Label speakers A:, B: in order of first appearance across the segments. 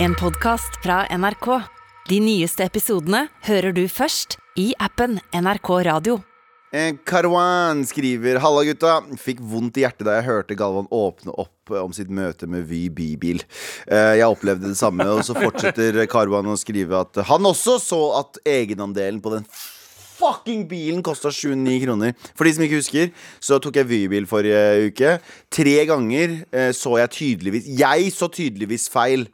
A: En podcast fra NRK. De nyeste episodene hører du først i appen NRK Radio.
B: Eh, Karwan skriver Halla gutta, fikk vondt i hjertet da jeg hørte Galvan åpne opp eh, om sitt møte med Vy Bibil. Eh, Jeg opplevde det samme, og så fortsetter Karwan å skrive at han også så at egenandelen på den fucking bilen kosta 709 kroner. For de som ikke husker, så tok jeg Vybil forrige uke. Tre ganger eh, så jeg tydeligvis Jeg så tydeligvis feil.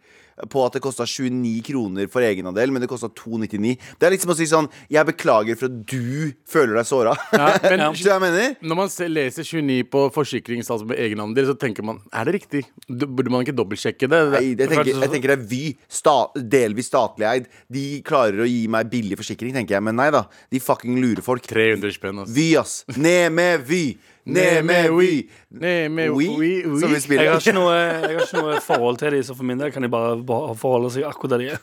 B: På at det kosta 29 kroner for egenandel, men det kosta 299. Det er liksom å si sånn Jeg beklager for at du føler deg såra.
C: men-
B: Skjønner du hva jeg mener?
C: Når man se- leser 29 på forsikrings, altså med egenandel, så tenker man er det riktig? D- Burde man ikke dobbeltsjekke det?
B: Nei, jeg tenker, jeg tenker det er Vy, sta, delvis statlig eid. De klarer å gi meg billig forsikring, tenker jeg. Men nei da. De fucking lurer folk.
C: 300 spenn, altså.
B: Vy, ass. Ned med Vy! Ned med Vy!
C: Ned med
B: Wii,
C: Wii, Wii.
B: som vi
D: Jeg
B: spiller.
D: har ikke noe, jeg har ikke noe forhold til de, så for min del kan de bare ba- forholde seg akkurat der de er.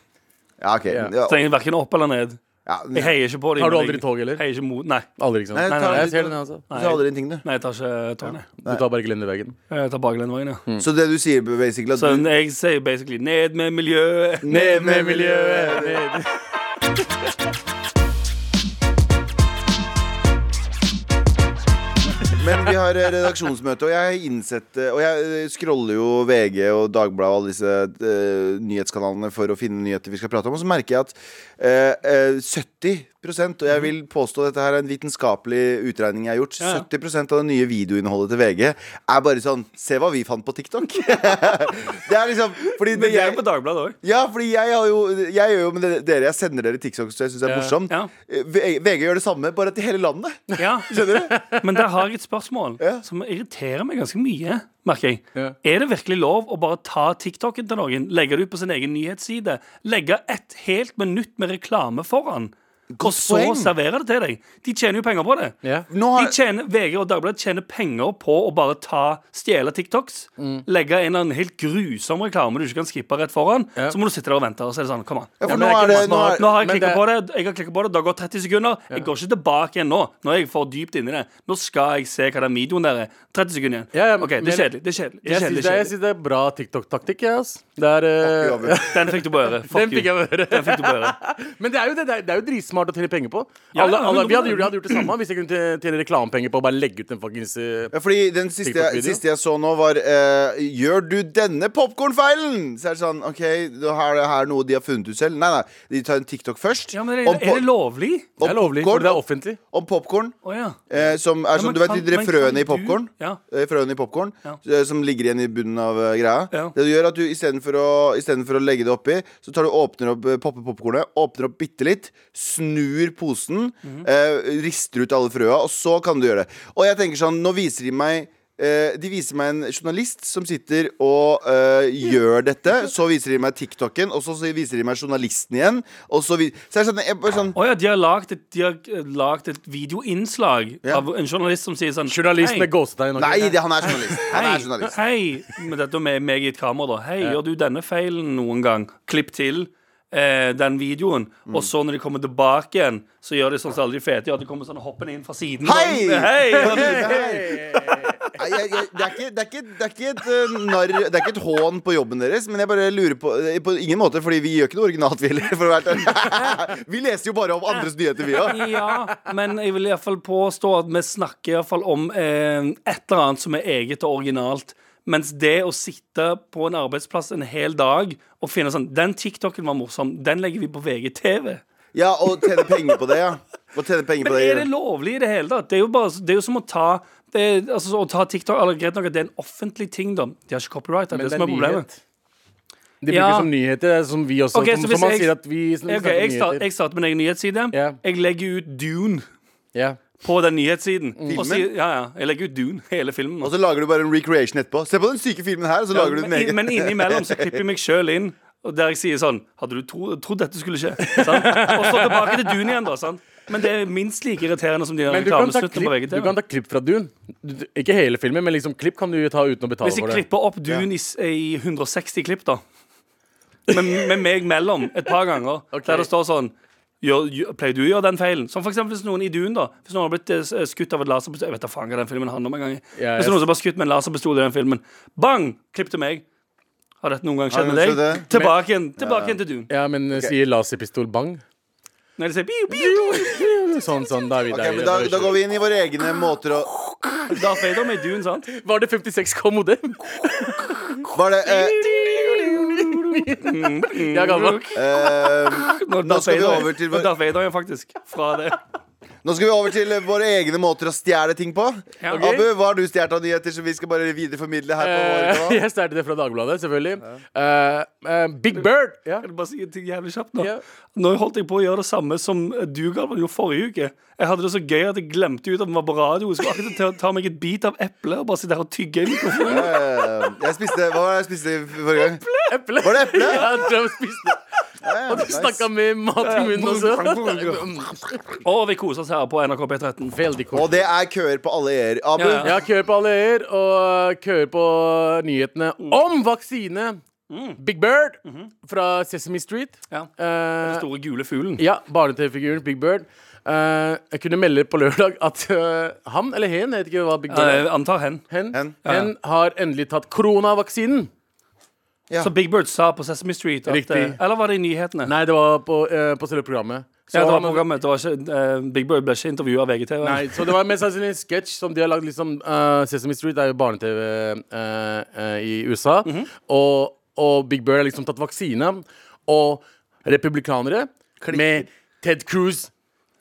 B: Ja, ok.
C: Ja.
B: Ja,
D: Så trenger jeg hverken opp eller ned.
B: ja.
D: Jeg heier ikke på dem.
C: Har du
D: men
C: aldri
D: jeg
C: tog, eller?
D: Heier ikke mot Nei.
C: Aldri, ikke sant?
B: Nei,
D: Nei,
B: ta
D: nei,
B: litt-
C: jeg ser den, altså.
B: Du tar aldri en ting, du.
D: Nei, jeg tar ikke tog, nei.
C: Du tar bare Glenneveien.
D: Jeg tar bare Glenveien,
C: Mm.
D: ja.
B: Så det du sier, basically at
D: Så
B: du,
D: jeg sier basically ned med miljøet.
C: Ned med miljøet! Ned.
B: Men vi har eh, redaksjonsmøte, og jeg har innsett eh, Og jeg eh, scroller jo VG og Dagbladet og alle disse eh, nyhetskanalene for å finne nyheter vi skal prate om, og så merker jeg at eh, eh, 70 og jeg vil påstå dette her er en vitenskapelig utregning jeg har gjort.
D: Mm. Ja, ja.
B: 70 av det nye videoinnholdet til VG er bare sånn Se hva vi fant på TikTok. det er liksom fordi
D: Men
B: det,
D: jeg er
B: jeg,
D: på Dagbladet òg.
B: Ja, fordi jeg har jo Jeg gjør jo med dere, jeg sender dere TikTok, så jeg syns det er
D: Ja.
B: morsomt.
D: Ja.
B: Eh, V- VG gjør det samme, bare til hele landet.
D: Ja.
B: Skjønner du?
D: Men der har jeg et spørsmål
B: Ja.
D: som irriterer meg ganske mye, merker jeg.
C: Ja.
D: Er det virkelig lov å bare ta TikToken til noen, legge det ut på sin egen nyhetsside, legge et helt minutt med reklame foran, og så
B: poeng.
D: servere det til deg? De tjener jo penger på det.
C: Ja.
B: Nå har,
D: De tjener, VG og Dagbladet tjener penger på å bare ta stjele TikToks,
B: Mm.
D: legge en eller annen helt grusom reklame du ikke kan skippe rett foran,
C: Ja.
D: så må du sitte der og vente, og så er det sånn, kom an.
B: Ja, for
D: Ja,
B: nå
D: men jeg
B: er det-
D: kan-
B: nå er-
D: nå har jeg
C: men
D: klikket
C: det-
D: på det, jeg har klikket på det, det har gått 30 sekunder. Jeg går ikke tilbake igjen nå. Nå er jeg for dypt inni det. Nå skal jeg se hva den videoen der er. 30 sekunder igjen.
C: Ja, ja,
D: OK, det
C: men-
D: er kjedelig. Det er kjedelig. Det
C: Jeg
D: er
C: syns
D: kjedelig,
C: det, er- jeg
D: kjedelig.
C: synes det er bra TikTok-taktikk. jeg, ass. Det er eh,
B: Uavgjort.
D: Den fikk du på øret. Fuck
C: Den fikk jeg
D: you.
C: høre.
D: Den fikk du på øret.
C: Men det er jo, det, det er, det er jo dritsmart å tjene penger på.
D: Ja,
C: alle,
D: ja,
C: alle, vi hadde,
D: 100%.
C: gjort- hadde gjort det samme hvis jeg kunne tjene- tjene reklamepenger på å bare legge ut en fuckings eh,
B: Ja, fordi den siste jeg,
C: TikTok-video.
B: siste jeg så nå var eh, Gjør du denne popkornfeilen? Så er det sånn, ok, da er det her noe de har funnet ut selv Nei, nei, de tar en TikTok først
D: Ja, men er,
B: om
D: det- er det
B: po-
D: lovlig?
C: Det er lovlig,
B: popcorn-
C: for det er offentlig.
B: Om popcorn
D: Å ja.
B: eh, Som er
D: Ja,
B: som,
D: men
B: du vet
D: kan-
B: de der
D: men kan
B: frøene i
D: du-
B: popcorn
D: Ja.
B: Eh, Frøene i popcorn
D: Ja.
B: eh, Som ligger igjen i bunnen av eh, greia
D: Ja.
B: Det du gjør er at du i stedet for å, i stedet for å legge det oppi Så tar du åpner opp eh, Popper popcornet Åpner opp bittelitt Snur posen
D: Mhm.
B: eh, Rister ut alle frøa Og så kan du gjøre det Og jeg tenker sånn Nå viser de meg eh, de viser meg en journalist som sitter og eh, gjør dette Så viser de meg TikToken Og så så viser de meg journalisten igjen Og så, vi- så er det sånn, jeg, bare sånn
D: Å ja, de har lagd et, de har eh, lagt et videoinnslag
B: Ja.
D: av en journalist som sier sånn
C: Journalist med gåsetegn. ok?
B: Nei, det, han er journalist Han er
D: Hei,
B: journalist
D: hei Men dette er med meg i et kamera da Hei, gjør du denne feilen noen gang? Klipp til eh, den videoen
B: Mm.
D: Og så når de kommer tilbake igjen Så gjør de sånn som alle de fete gjør De kommer sånn hoppende inn fra siden
B: Hei!
D: sånn, hei!
B: Nei, jeg, jeg, det, er ikke, det, er ikke, det er ikke et eh, narr Det er ikke et hån på jobben deres, men jeg bare lurer på eh, På ingen måte, fordi vi gjør ikke noe originalt, vi heller. For å være helt ærlig. vi leser jo bare om andres nyheter, vi òg.
D: Ja, men jeg vil i hvert fall påstå at vi snakker i hvert fall om eh, et eller annet som er eget og originalt. Mens det å sitte på en arbeidsplass en hel dag og finne sånn Den TikToken var morsom, den legger vi på VGTV.
B: Ja, og tjene penger på det, ja. Og tjene penger
D: Men
B: på det.
D: er det
B: ja.
D: lovlig i det hele tatt? Det er jo, bare, det er jo som å ta det, er- altså, å ta TikTok Eller greit nok at det er en offentlig ting, da. De har ikke copyright. Det er
C: Men
D: det som er problemet.
C: nyhet. De bruker
D: Ja.
C: som nyheter, det er som vi også.
D: Ok, så
C: som,
D: hvis
C: som man
D: jeg-
C: sier at vi snakker
D: Ok, jeg, start,
C: nyheter.
D: jeg starter min egen nyhetsside.
C: Ja.
D: Jeg legger ut Dune
C: Ja.
D: på den nyhetssiden. Og
C: Mm.
B: Filmen?
D: sier, ja, ja, jeg legger ut Dune, hele filmen.
B: Og så lager du bare en recreation etterpå. Se på den syke filmen her, og så lager du
D: men,
B: den egen.
D: men innimellom så klipper jeg meg sjøl inn. Og Der jeg sier sånn Hadde du tro, trodd dette skulle skje? Sant? Og så tilbake til Dune igjen, da. Sant? Men det er minst like irriterende som de der
C: Men du kan, ta
D: reklamesnuttene på
C: klipp, du kan
D: VGTV.
C: ta klipp fra Dune. Du, du- ikke hele filmen, men liksom klipp kan du ta uten å betale
D: Hvis jeg
C: for det.
D: klipper opp Dune i, s- i 160 klipp, da. Med, med meg mellom et par ganger.
C: Ok.
D: Der det står sånn gjør, gjør- Pleier du å gjøre den feilen? Som for eksempel hvis noen i Dune, da. Hvis noen har blitt eh, s- skutt av et laserpistol Jeg vet da faen hva den filmen handler om engang.
C: Ja,
D: Hvis
C: jeg-
D: noen som bare skutt med en laserpistol i den filmen. Bang! Klipp til meg. Har dette noen gang
B: Har
D: skjedd med
B: det
D: deg?
B: skjedd det?
D: Tilbake igjen tilbake igjen til Dune.
C: Ja, men eh, sier laserpistol bang?
D: Når de sier biu, biu,
C: Sånn, sånn, da er vi
B: Ok,
C: der.
B: men da, da går vi inn i våre egne måter å
D: Darth Vader med Dune, sant?
C: Var det 56K modem?
B: Var det eh,
C: Jeg er gammel.
B: eh,
D: Når
B: Nå skal vi
D: Vader-
B: over til-
D: når Darth Vader er faktisk fra det.
B: Nå skal vi over til eh, våre egne måter å stjele ting på.
D: Ja. Ok.
B: Abu, hva har du stjålet av nyheter som vi skal bare videreformidle her på vår
C: Eh,
B: kanal?
C: Jeg startet det fra Dagbladet, selvfølgelig. Eh, eh, Big Bird. Ja.
D: Kan du bare si en ting jævlig kjapt nå?
C: Ja.
D: Nå holdt jeg på å gjøre det samme som du, Galvan, gjorde forrige uke. Jeg hadde det så gøy at jeg glemte ut at den var på radio. Jeg skulle akkurat til å ta meg et bit av eplet og bare sitte her og tygge i mikrofonen.
B: Eh, Jeg spiste, Hva var det jeg spiste forrige gang?
C: Eple.
B: Var det eple?
C: Ja, Trump spiste.
B: Eh,
C: Og du
B: nice.
C: snakka med mat i munnen også.
D: Og vi koser oss her på NRK P13.
C: Veldig
B: Og
C: kort.
B: det er køer på alle øyer. Abu,
D: Ja,
C: Ja, køer på alle øyer, og køer på nyhetene om vaksine. Big Bird fra Sesame Street.
D: Ja.
C: Eh,
D: Den store gule fuglen.
C: Ja, barne-TV-figuren Big Bird. Eh, jeg kunne melde på lørdag at eh, han, eller hen, jeg vet ikke hva Big Bird er.
D: Eh, antar hen.
C: Hen,
B: Hen.
C: hen har endelig tatt koronavaksinen.
B: Ja.
D: Så Big Bird sa på Sesame Street at,
C: Riktig.
D: eh, Eller var det i nyhetene?
C: Nei, det var på, eh, på selve programmet. Så
D: Ja, det var
C: han-
D: programmet. Det var ikke, eh, Big Bird ble ikke intervjua av VGTV.
C: Nei, så det var mest sannsynlig en sketsj som de har lagd. Liksom, eh, Sesame Street er jo barne-TV eh, eh, i USA.
D: Mhm.
C: og, og Big Bird har liksom tatt vaksine. Og republikanere med Ted Cruz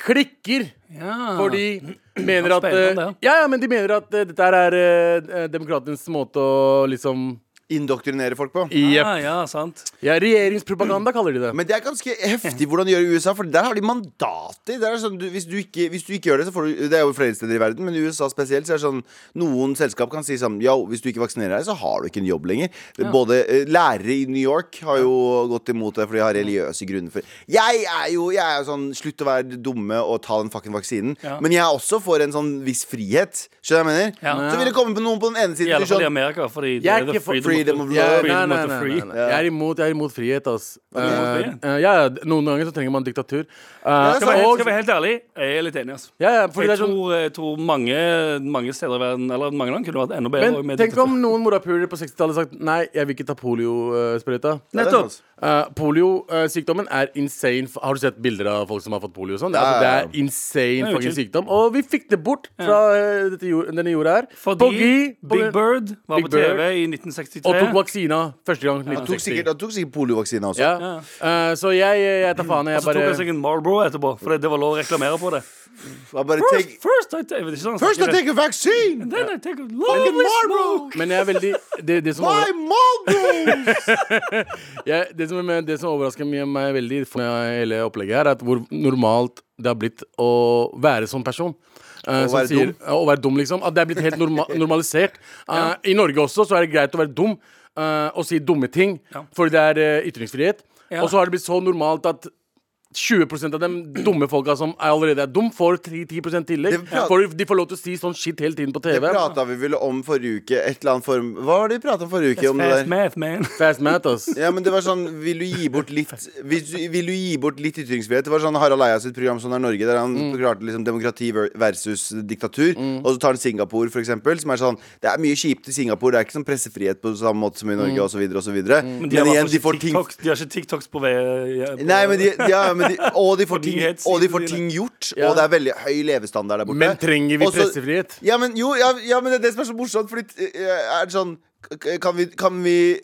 C: klikker.
D: Ja.
C: For de mener at eh,
D: Spennende,
C: Ja, ja, men de mener at eh, dette her er eh, eh, demokratenes måte å liksom
B: Indoktrinere folk på.
C: Jepp.
D: ah, ja, sant.
C: Ja, regjeringspropaganda kaller de det.
B: Men det er ganske heftig hvordan de gjør det i USA, for der har de mandater. Det er sånn, du, hvis, du ikke, hvis du ikke gjør det, så får du Det er jo flere steder i verden, men i USA spesielt så er det sånn Noen selskap kan si sånn Yo, hvis du ikke vaksinerer deg, så har du ikke en jobb lenger. Både eh, lærere i New York har jo gått imot det, for de har religiøse grunner for Jeg er jo jeg er jo sånn Slutt å være dumme og ta den fucking vaksinen.
D: Ja.
B: Men jeg er også for en sånn viss frihet. Skjønner du hva jeg mener?
D: Ja.
B: Så vil det komme på noen på den ene
D: I
B: siden
D: alle
B: til
D: fall i
B: sånn
D: Amerika, fordi det
C: Jeg er
D: er the
C: ikke for
B: freedom of
D: of-
B: love.
D: Ja,
B: Nei,
D: freedom
C: nei,
D: of the
C: nei,
D: free.
C: nei, nei. Jeg er imot, jeg er imot frihet, ass.
D: er imot frihet?
C: Eh, eh, ja, ja, noen ganger så trenger man diktatur. Eh,
B: det er
D: Skal jeg være helt-
C: og,
D: skal jeg være helt ærlig, jeg er litt enig. Altså.
C: ja, ja, fordi det
D: Jeg
C: er sånn
D: tror, jeg tror mange, mange steder i verden Eller mange land kunne vært enda bedre.
C: Men
D: med
C: tenk
D: diktatur.
C: om noen morapulere på 60-tallet sagt Nei, jeg vil ikke ta poliosprøyta.
B: Ja, det er sånn».
D: Nettopp.
B: sant.
C: Poliosykdommen er insane. F- Har du sett bilder av folk som har fått polio? og sånn? Det, er-
B: Ja, ja, ja.
C: altså, det er insane
D: er jo
C: fucking
D: chill.
C: sykdom. Og vi fikk det bort fra eh, dette jord, denne jorda her.
D: Fordi
C: Boogie,
D: Big
C: Boogie-
D: Bird var
C: Big
D: på TV
C: Bird.
D: i 1963.
C: Og tok vaksina første gang.
B: Han tok
C: 1960.
B: sikkert, han tok sikkert poliovaksine også.
C: ja. Eh, så jeg, jeg tar faen. Jeg
D: så tok
C: bare
D: han seg en Marlboro etterpå, for det var lov å reklamere på det.
B: Han bare
D: First,
B: take,
D: first I, jeg vet ikke, sånn, han
B: First I
D: snakker det.
B: take a vaccine!
D: Then I take a
B: Fucking
D: lovely
B: Marlboro!
D: smoke.
C: Men jeg er veldig Det, det som over-
B: My Marlboro!
C: jeg, det, som, det som overrasker meg, meg veldig med hele opplegget her, er at hvor normalt det har blitt å være som person. Eh, som
B: være dum.
C: Ja, å være dum, liksom. At det er blitt helt norma normalisert. Eh, I Norge også så er det greit å være dum eh, og si dumme ting,
D: Ja.
C: fordi det er eh, ytringsfrihet.
D: Ja.
C: Og så har det blitt så normalt at 20 av de dumme folka som er allerede er dum, får 3-10 tillegg.
B: Det prat-
C: For de får lov til å si sånn shit hele tiden på TV.
B: Det prata vi vel om forrige uke. Et eller annet form Hva var det vi prata om forrige uke?
D: It's
B: Om det
D: fast
B: der?
D: math, man.
C: Fast mat, ass.
B: Ja, men det var sånn Vil du gi bort litt Vil du, vil du gi bort litt ytringsfrihet? Det var sånn Harald Eia sitt program Sånn er Norge, der han
D: Mm.
B: forklarte liksom demokrati ver- versus diktatur. Og så tar han Singapore, for eksempel, som er sånn Det er mye kjipt i Singapore. Det er ikke sånn pressefrihet på samme måte som i Norge, og så videre, og så videre. Men,
D: Mm. De har,
B: igjen,
D: hvertfall
B: de
D: ikke
B: får ting
D: TikToks, de har ikke TikToks på vei. ja, på-
B: Nei, men de, ja, men de, og, de får ting,
D: nyhetssidene
B: og de får
D: dine.
B: ting gjort,
C: Ja.
B: og det er veldig høy levestandard der borte.
C: Men trenger vi
B: Og så-
C: pressefrihet?
B: Ja, men jo, ja, ja, men det er det som er så morsomt, fordi eh, er det sånn k- Kan vi, kan vi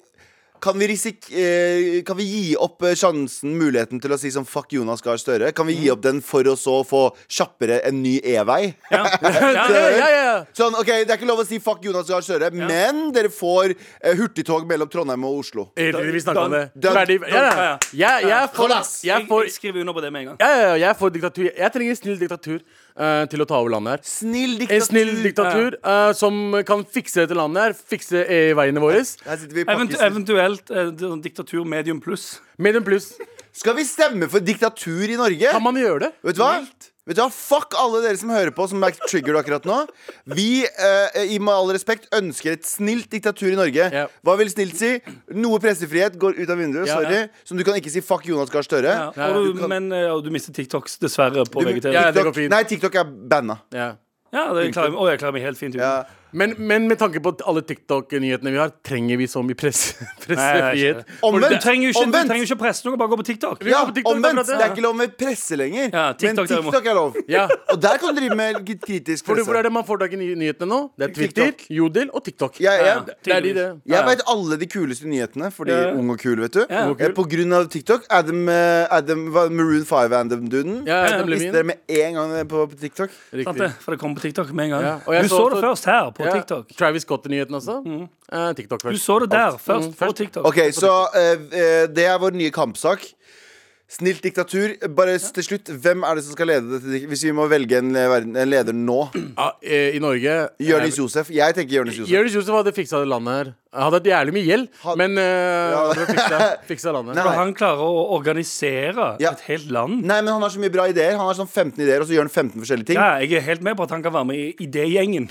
B: kan vi, risik eh, kan vi gi opp eh, sjansen, muligheten til å si sånn fuck Jonas Gahr Støre? Kan
C: Mm.
B: vi gi opp den for å så få kjappere en ny e-vei?
D: Ja. Ja,
C: Ja,
D: ja, ja.
C: ja, ja.
B: Sånn, ok, Det er ikke lov å si fuck Jonas Gahr Støre, men dere får eh, hurtigtog mellom Trondheim og Oslo.
C: Helt riktig, vi snakker om det.
B: Dunk,
C: Ferdig. Ja, ja.
D: ja, ja.
C: Jeg, jeg er for,
B: Kollaps.
C: jeg er
D: Jeg,
C: for,
D: jeg skriver under på det med en gang.
C: ja, ja, ja, jeg er for diktatur. Jeg trenger en snill diktatur eh, til å ta over landet her.
B: Snill
C: En
B: diktatur.
C: snill diktatur eh, som kan fikse dette landet her. Fikse EU-veiene våre.
B: Her sitter vi i
D: Eventu
B: Pakistan.
D: eventuelt eh, det er sånn diktatur medium pluss.
C: Medium pluss.
B: Skal vi stemme for diktatur i Norge?
C: Kan man gjøre det?
B: Vet du hva? Vet du hva? Fuck alle dere som hører på, som er triggered akkurat nå. Vi, eh, i med all respekt, ønsker et snilt diktatur i Norge.
C: Ja.
B: Hva vil snilt si? Noe pressefrihet går ut av vinduet,
C: Ja.
B: sorry. Som du kan ikke si fuck Jonas Gahr Støre.
D: Ja.
C: Nei,
D: og
B: du
D: du,
B: kan-
D: men eh, og du mister TikToks, dessverre, på
B: Du-
D: VGTV.
C: Ja, det går
B: TikTok,
C: fint.
B: nei, TikTok er banna.
C: Ja.
D: Ja, det klarer, jeg- å, jeg klarer meg helt fint uten.
B: Ja.
C: Men, men med tanke på at alle TikTok-nyhetene vi har, trenger vi så mye presse,
D: Nei, det er
C: pressefrihet?
D: ikke det.
B: Omvendt!
D: Du trenger jo ikke,
B: Omvendt!
D: du trenger jo ikke presse noe, bare gå på TikTok.
B: Ja,
C: på TikTok,
B: omvendt.
C: akkurat det.
B: Det er ikke lov med presse lenger.
D: Ja, TikTok
B: men
D: derimot.
B: TikTok er lov.
C: Ja.
B: Og der kan du drive med litt kritisk
C: For
B: presse.
C: hvor er det man får tak i ny- nyhetene nå? Det er Twitter,
B: TikTok.
C: Jodel og TikTok.
B: Ja, ja.
C: Det er de, det.
B: Jeg vet alle de kuleste nyhetene, fordi
D: Ja.
B: ung og kul, vet du.
D: Ja. Ung og
B: Eh,
D: kul.
B: På grunn av TikTok. Adam, eh, Adam hva- Maroon 5-andom-duden.
C: Ja, Adam
B: Visste
C: Levine.
B: dere med en gang det på, på TikTok?
D: Sant
C: Riktig.
D: det? For det kommer på TikTok med en gang.
C: Ja, og jeg
D: Du
C: så
D: så det
C: også-
D: først her, på
C: Ja,
D: TikTok. Mm.
C: Travis Scott-nyheten også. Eh, TikTok
D: Du
C: først.
D: så det der,
C: Mm,
D: først på
C: først.
D: TikTok.
B: Ok, så eh, eh, det er vår nye kampsak. Snilt diktatur. Bare s- til slutt, hvem er det som skal lede dette? dik- Hvis vi må velge en, le- verden- en leder nå.
C: Ja, eh, I Norge
B: Jonis Josef. Jeg tenker Jonis Josef.
C: Jonis Josef hadde fiksa det landet her. Han hadde hatt jævlig mye gjeld,
B: Had-
C: men eh,
B: Ja.
C: hadde fiksa, fiksa landet.
B: Nei.
D: For han klarer å organisere
B: Ja.
D: et helt land.
B: Nei, men han har så mye bra ideer. Han har sånn 15 ideer, og så gjør han 15 forskjellige ting.
D: Ja, jeg er helt med på at han kan være med i idégjengen.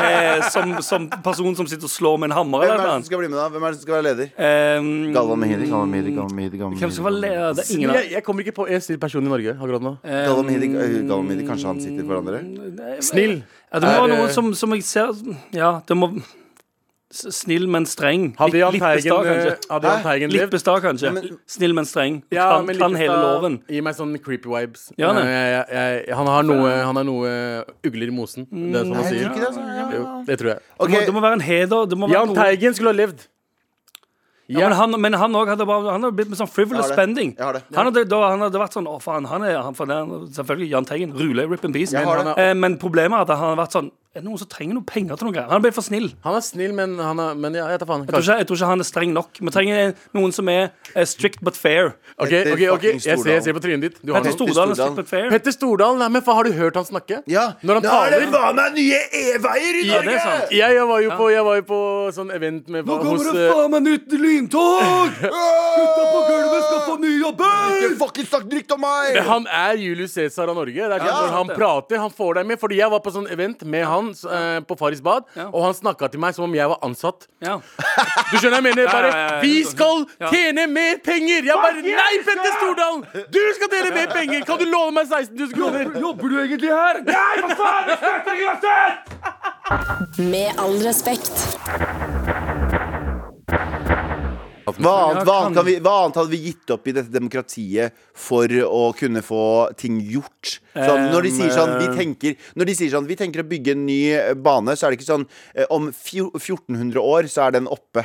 D: eh, som, som person som sitter og slår med en hammer
B: Hvem er
D: eller
B: det
D: noe
B: som
D: andt.
B: skal bli med da? Hvem er det som skal være leder?
D: Ehm,
B: Galvan Mehidi, Galvan Mehidi, Galvan Mehidi, Galvan
D: Hvem skal
B: Mehidi,
D: være leder? Det er ingen av
C: Jeg, jeg kommer ikke på en snill person i Norge akkurat nå.
D: Ehm, eh,
B: Galvan Mehidi, eh, Galvan Mehidi, kanskje han sitter foran dere?
D: nei,
C: Snill.
D: Ja, det må
C: Er,
D: være noen
C: eh,
D: som, som jeg ser Ja, det må s- Snill, men streng.
C: Hadde Jahn
D: Litt- Lippestad,
C: Teigen, eh,
D: kanskje.
C: hadde Jahn
B: Hæ?
C: Teigen levd?
D: Lippestad, kanskje. Snill, men streng. kan
C: men
D: kan hele
C: Lippestad
D: loven.
C: Gir meg sånn creepy vibes.
D: Ja, nei.
C: Eh, jeg, jeg, han, har noe, han har noe eh, ugler i mosen.
D: Mm,
C: Det er som han
B: Jeg tror
C: sier.
B: ikke det, altså. Ja.
C: Jo, det tror jeg.
B: Ok,
D: Det, må, det må være en heder. Det må være
C: Jahn
D: noe-
C: Teigen skulle ha levd.
D: Ja, men han- Men han òg hadde, bare- han hadde blitt med sånn frivolous
B: Jeg har det.
D: spending.
B: Jeg har det.
D: Han, hadde, da, han hadde vært sånn Å, faen, han er han, for det, er- Selvfølgelig Jahn Teigen. Rule, rip in peace.
B: Jeg
D: Men,
B: har
D: han,
B: det.
D: eh, men problemet er at han har vært sånn Er det noen som trenger noe penger til noe? greier? Han ble for snill.
C: Han er snill, men, han er, men ja, jeg tar faen.
D: Jeg tror, ikke, jeg tror ikke han er streng nok. Vi trenger noen som er eh, strict but fair.
C: Ok,
B: Petter
C: ok, ok,
B: fucking
C: jeg ser, jeg ser på trynet ditt. Du har
D: Petter
C: noe.
B: Stor-
D: Stordalen er
B: Stordalen.
D: strict but fair.
C: Petter Stordalen, nei, men faen, har du hørt han snakke?
B: ja.
C: Når han
B: Da er det
C: taler-
B: faen meg nye e-veier i
D: Ja, det
B: Norge!
D: er sant.
C: Jeg, jeg, var jo på, jeg var jo på sånn event med hos eh,
D: meg nytt lyntog!
B: Gutta
D: ny
B: Ikke
D: jobb!
B: fucking snakk drygt om meg!
C: Men han er Julius Cæsar av Norge. Det er
B: Ja.
C: sånn Når han prater, han får deg med. Fordi jeg var på sånn event med han eh, på Farris bad,
D: Ja.
C: og han snakka til meg som om jeg var ansatt.
D: Ja.
C: Du skjønner, jeg mener bare
D: Ja, ja, ja, ja.
C: Vi skal
D: Ja.
C: tjene mer penger! Jeg bare Nei, Petter Stordalen! Du skal tjene mer penger! Kan du låne meg 16 000 kroner?
D: Jobber du egentlig her? Nei, for faen!
E: Med all respekt.
B: Hva annet, hva,
D: Ja,
B: annet kan vi, hva annet hadde vi gitt opp i dette demokratiet for å kunne få ting gjort? Sånn, når, de sier sånn, vi tenker, når de sier sånn Vi tenker å bygge en ny eh, bane, så er det ikke sånn eh, Om fjo- 1400 år så er den oppe.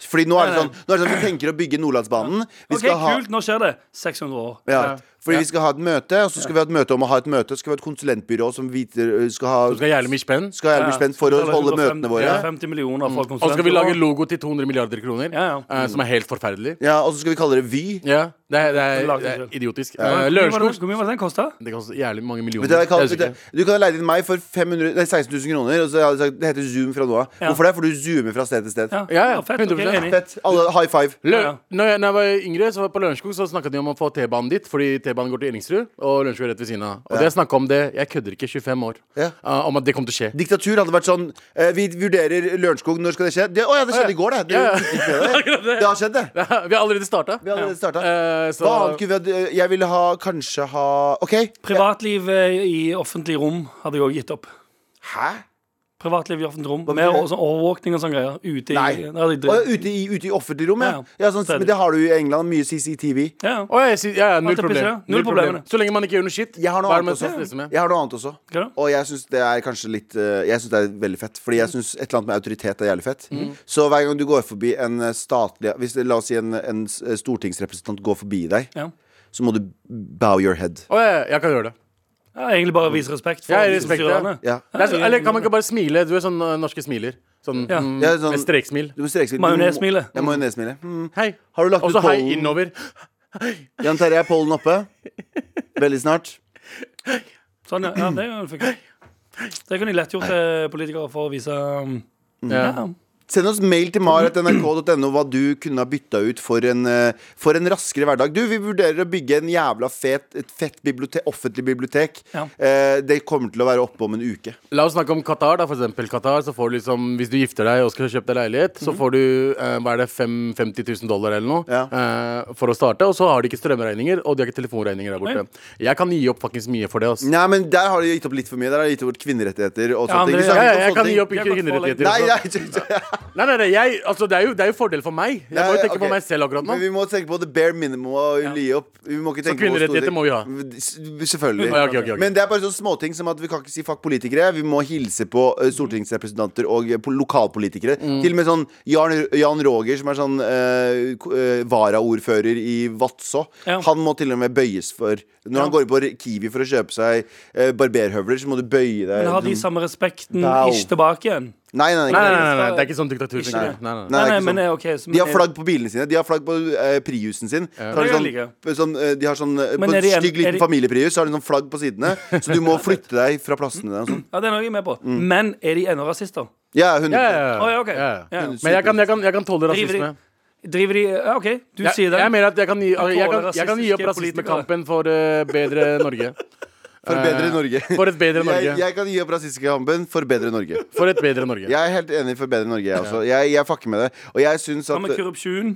B: Fordi nå er det
D: Nei,
B: sånn, nå er det sånn Vi tenker å bygge Nordlandsbanen. Vi
D: Ok,
B: skal ha
D: kult, nå skjer det. 600 år.
B: ja, fordi vi skal ha et møte, og så skal vi ha et møte om å ha et møte. Så skal vi ha et konsulentbyrå som viter, skal ha
C: Skal jævlig mye spenn.
B: skal være spent for å
D: Betaler
B: holde
D: 150
B: møtene våre.
D: 50 millioner for konsulenter.
C: Og så skal vi lage logo til 200 milliarder kroner,
D: Ja, ja.
C: eh, som er helt forferdelig.
B: Ja, Og så skal vi kalle det Vy.
C: Ja, det er, det
D: Vi
C: er,
D: lager
C: det
D: det
C: er
D: selv.
C: idiotisk.
D: Hvor
C: Eh,
D: mye var det-
C: Lørenskog
D: Hvor mye var det den kosta?
C: Det koster jævlig mange
B: Vet
C: millioner.
B: du, hva jeg kaller-
C: Jeg husker
B: vet
C: ikke.
B: du, du kan leie inn meg for 500, nei, 16 000 kroner. Og så har jeg sagt, det heter Zoom fra nå av.
D: Ja.
B: Hvorfor det? For du zoomer fra sted til sted.
D: Ja,
C: Ja, ja,
D: fett.
C: 100%.
D: ok, enig.
B: Fett. Alle high five.
C: Lø
D: Ja, ja.
C: når, jeg, når jeg var yngre, så var jeg på Lørenskog Så snakka de om å få T-banen dit, fordi T-banen går til Ellingsrud. Og Lørenskog er rett ved siden av. Og det jeg snakka om det, jeg kødder ikke, 25 år,
B: Ja.
C: eh, om at det kommer til å skje.
B: Diktatur hadde vært sånn eh, Vi vurderer Lørenskog, når skal det skje? Det, å ja, det skjedde i går, det. Det,
C: Ja, ja.
B: det. det har skjedd, det.
C: Vi har allerede starta.
B: Vi har allerede starta.
C: Eh, så
B: Hva annet kunne vi hatt? Eh, Jeg ville ha kanskje ha OK.
D: Privatliv eh, i offentlig rom hadde jeg òg gitt opp.
B: Hæ?
D: Privatliv i offentlig rom.
B: Hva
D: Mer
B: betyr det?
D: sånn overvåkning og sånn greier. Ute i
B: Nei.
D: det hadde jeg
B: Å, ja,
D: dritt-
B: ute, i, ute i offentlig rom, ja.
D: Ja,
B: ja sånn,
D: det er det.
B: men det har du i England. Mye CCTV.
D: Ja, ja.
C: Å, jeg sier- ja, ja, null
D: Alt er
C: problem.
D: pisse, ja. Null problemer.
C: Så lenge man ikke gjør noe shit.
B: Jeg har noe
C: hva er det
B: annet
C: man liksom, skal stresse
B: også.
C: med?
B: Jeg har noe annet også.
D: Hva da?
B: Og jeg syns det er kanskje litt eh, Jeg synes det er veldig fett. Fordi jeg syns et eller annet med autoritet er jævlig fett.
C: Mm.
B: Så hver gang du går forbi en eh, statlig hvis, det- La oss si en, en s- stortingsrepresentant går forbi deg,
D: Ja.
B: så må du bow your head.
C: Å, ja, ja, jeg kan gjøre det.
D: Ja, egentlig bare vise respekt for
C: Ja,
D: de
C: respekt,
D: styrende.
B: Ja.
C: det er, så- eller kan man ikke bare smile? Du er sånn eh, norske smiler. Sånn,
D: sånn- Ja.
C: mm,
B: Ja, sånn-
C: med streksmil.
B: Du må streksmile.
D: Majonesmile.
B: Du må- Ja, majonesmile. Mm.
C: Hei.
B: Har du lagt
C: Og så
B: ut
C: hei
B: pollen?
C: innover.
B: Jan Terje, er pollen oppe? Veldig snart.
D: Sånn, ja.
B: Mm.
D: eh, ja det er jo en funksjon. Det kunne jeg lett gjort til politikere for å vise um,
C: Ja.
D: ja.
B: Send oss mail til mar.nrk.no hva du kunne ha bytta ut for en, eh, for en raskere hverdag. Du, vi vurderer å bygge en jævla fet, et fett bibliotek, offentlig bibliotek.
D: Ja.
B: Eh, det kommer til å være oppe om en uke.
C: La oss snakke om Qatar. da, for eksempel Qatar, så får du liksom, Hvis du gifter deg og skal kjøpe deg leilighet,
D: Mm.
C: så får du eh, hva er det, fem- 50 000 dollar eller noe
B: Ja.
C: eh, for å starte. Og så har de ikke strømregninger, og de har ikke telefonregninger der borte. Jeg kan gi opp faktisk mye for det. ass
B: Nei, men der har de gitt opp litt for mye. Der har de gitt bort kvinnerettigheter og
D: Ja,
B: sånne
D: men
B: ting.
D: det-
B: Vi snakker ikke om
C: ja, ja, jeg
B: sånne
C: kan gi
B: ting.
C: opp
D: Jeg kan få
C: kvinnerettigheter. altså.
B: Nei,
C: også.
B: nei, nei,
C: Nei, nei, nei jeg, altså, det, er jo, det er jo fordel for meg. Jeg må jo tenke
B: ok.
C: på meg selv akkurat nå.
B: Men vi må tenke på the bare minimum og gi opp. Vi må ikke
C: Så
B: tenke på hvor store
C: kvinnerettigheter
B: ting-
C: må vi ha.
B: S- Selvfølgelig.
C: Ja, ok, ok, ok.
B: Men det er bare sånne småting som at vi kan ikke si fuck politikere. Vi må hilse på eh, stortingsrepresentanter og eh, på lokalpolitikere.
C: Mm.
B: Til og med sånn Jan, Jan Roger, som er sånn eh, ko- eh, varaordfører i Vadså,
D: Ja.
B: han må til og med bøyes for. Når han går på Kiwi for å kjøpe seg eh, barberhøvler, så må du bøye deg.
D: Men har de
B: sånn-
D: samme respekten
B: Wow.
D: ikke tilbake igjen?
B: Nei, nei, nei.
C: Nei,
B: nei,
C: nei, nei, nei, det er ikke sånn diktatur. tenker jeg. Nei, nei, nei.
B: det
D: Nei,
B: er
D: nei,
B: ikke
D: men
B: sånn.
D: eh, ok så-
B: De har flagg på bilene sine. De har flagg på eh, Priusen sin. Så har de,
D: Det
B: sånn,
D: liker
B: sånn, eh, de har sånn eh,
D: Men
B: På
D: er
B: en
D: det en-
B: stygg
D: er
B: liten
D: det-
B: familieprius Så har de sånn flagg på sidene. Så du må flytte deg fra plassene der. og Sånn.
D: Ja, det er noe jeg er med på. Men er de ennå rasister?
B: Ja, 100
C: Ja, ja,
D: Å,
C: ja.
D: ja, ok.
C: Ja, ja.
D: Ja.
C: Men jeg kan, jeg kan, jeg kan tåle
D: Driver de,
C: rasisme.
D: driver de Ja, OK, du
C: Jeg,
D: sier det.
C: jeg mener at jeg kan, gi- jeg, kan, jeg kan gi opp
D: rasistiske
C: rasismekampen for eh, bedre Norge. Eh,
B: For bedre Norge.
C: For et bedre Norge.
B: Jeg, jeg kan gi opp rasistekampen for bedre Norge.
C: For et bedre Norge.
B: Jeg er helt enig for bedre Norge, jeg også. Jeg, jeg fucker med det. Og jeg syns
D: Hva
B: at
D: med korrupsjon?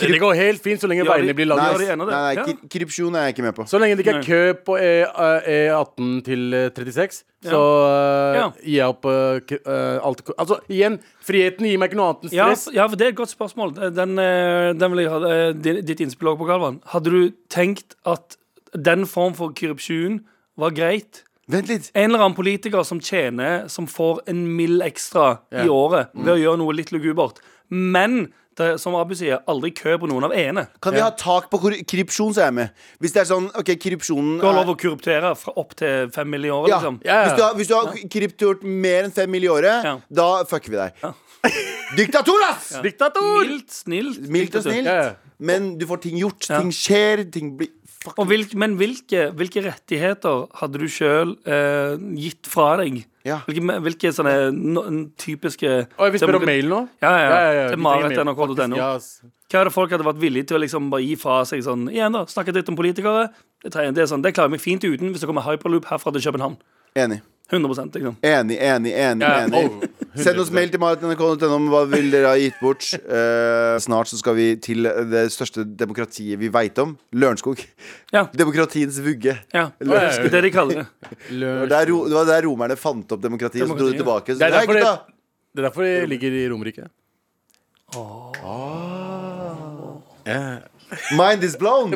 C: Det går helt fint så lenge
D: Ja,
C: veiene
D: de-
C: blir
B: Nei,
D: Ja,
C: laget.
D: de er
B: nei,
D: enig i det.
B: nei
D: Ja.
B: kri- korrupsjon er jeg ikke med på.
C: Så lenge det ikke er
D: Nei.
C: kø på E, eh, E18 til eh, 36, så eh,
D: Ja.
C: gir jeg opp eh, k- eh, alt Altså, igjen, friheten gir meg ikke noe annet enn
D: Ja,
C: stress.
D: f- ja, for det er et godt spørsmål. Den, eh, den vil jeg ha eh, di- ditt innspill også på, Galvan. Hadde du tenkt at den form for korrupsjon var greit?
B: Vent litt.
D: En eller annen politiker som tjener, som får en mill ekstra i
C: Ja.
D: året
B: Mm.
D: ved å gjøre noe litt lugubert. Men det, er, som Abu sier, aldri kø på noen av ene.
B: Kan vi ha tak på korru- korrupsjon, så er jeg med. Hvis det er sånn OK, korrupsjonen
D: Du har
B: er-
D: lov å korruptere fra opp til fem mill. i året,
B: Ja.
D: liksom.
C: Ja, ja.
B: Hvis du har, hvis du har kryptort mer enn fem mill. i året,
D: Ja.
B: da fucker vi deg. Diktator, ass!
C: Diktator!
D: Mildt, snilt.
B: Mildt og
D: diktatur.
B: snilt,
C: Ja, ja.
B: men du får ting gjort. Ting skjer. Ting blir Fuck.
D: Og hvilk, men hvilke, hvilke rettigheter hadde du sjøl eh, gitt fra deg?
B: Ja.
D: Hvilke, me- hvilke sånne no, n- typiske
C: Oi, vi spør om mail nå.
D: Ja, ja, ja. Til
C: vi trenger
D: Marit,
C: mail.
D: NRK.no.
C: Faktisk, ja, ass.
D: Hva er det folk hadde vært villige til å liksom bare gi fra seg sånn Igjen, da. Snakke dritt om politikere. Det, tre- det, er sånn, det klarer jeg meg fint uten hvis det kommer hyperloop herfra til København.
B: Enig.
D: 100 liksom.
B: Enig, enig, enig.
C: Ja,
B: enig.
C: oh, 100%.
B: Send oss mail til maritnrk.no om hva vil dere ha gitt bort. Eh, snart så skal vi til det største demokratiet vi veit om. Lørenskog.
D: Ja.
B: Demokratiets vugge.
D: ja. Det
C: Løs.
D: er det de kaller det.
B: Det var der, ro, det var der romerne fant opp demokratiet, og så dro de tilbake. Så,
C: Det er
B: Nei,
C: derfor det-
B: gutta!
C: Det er derfor jeg ligger i Romerike.
B: Mind is blown!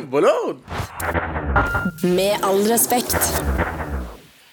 E: Med all respekt.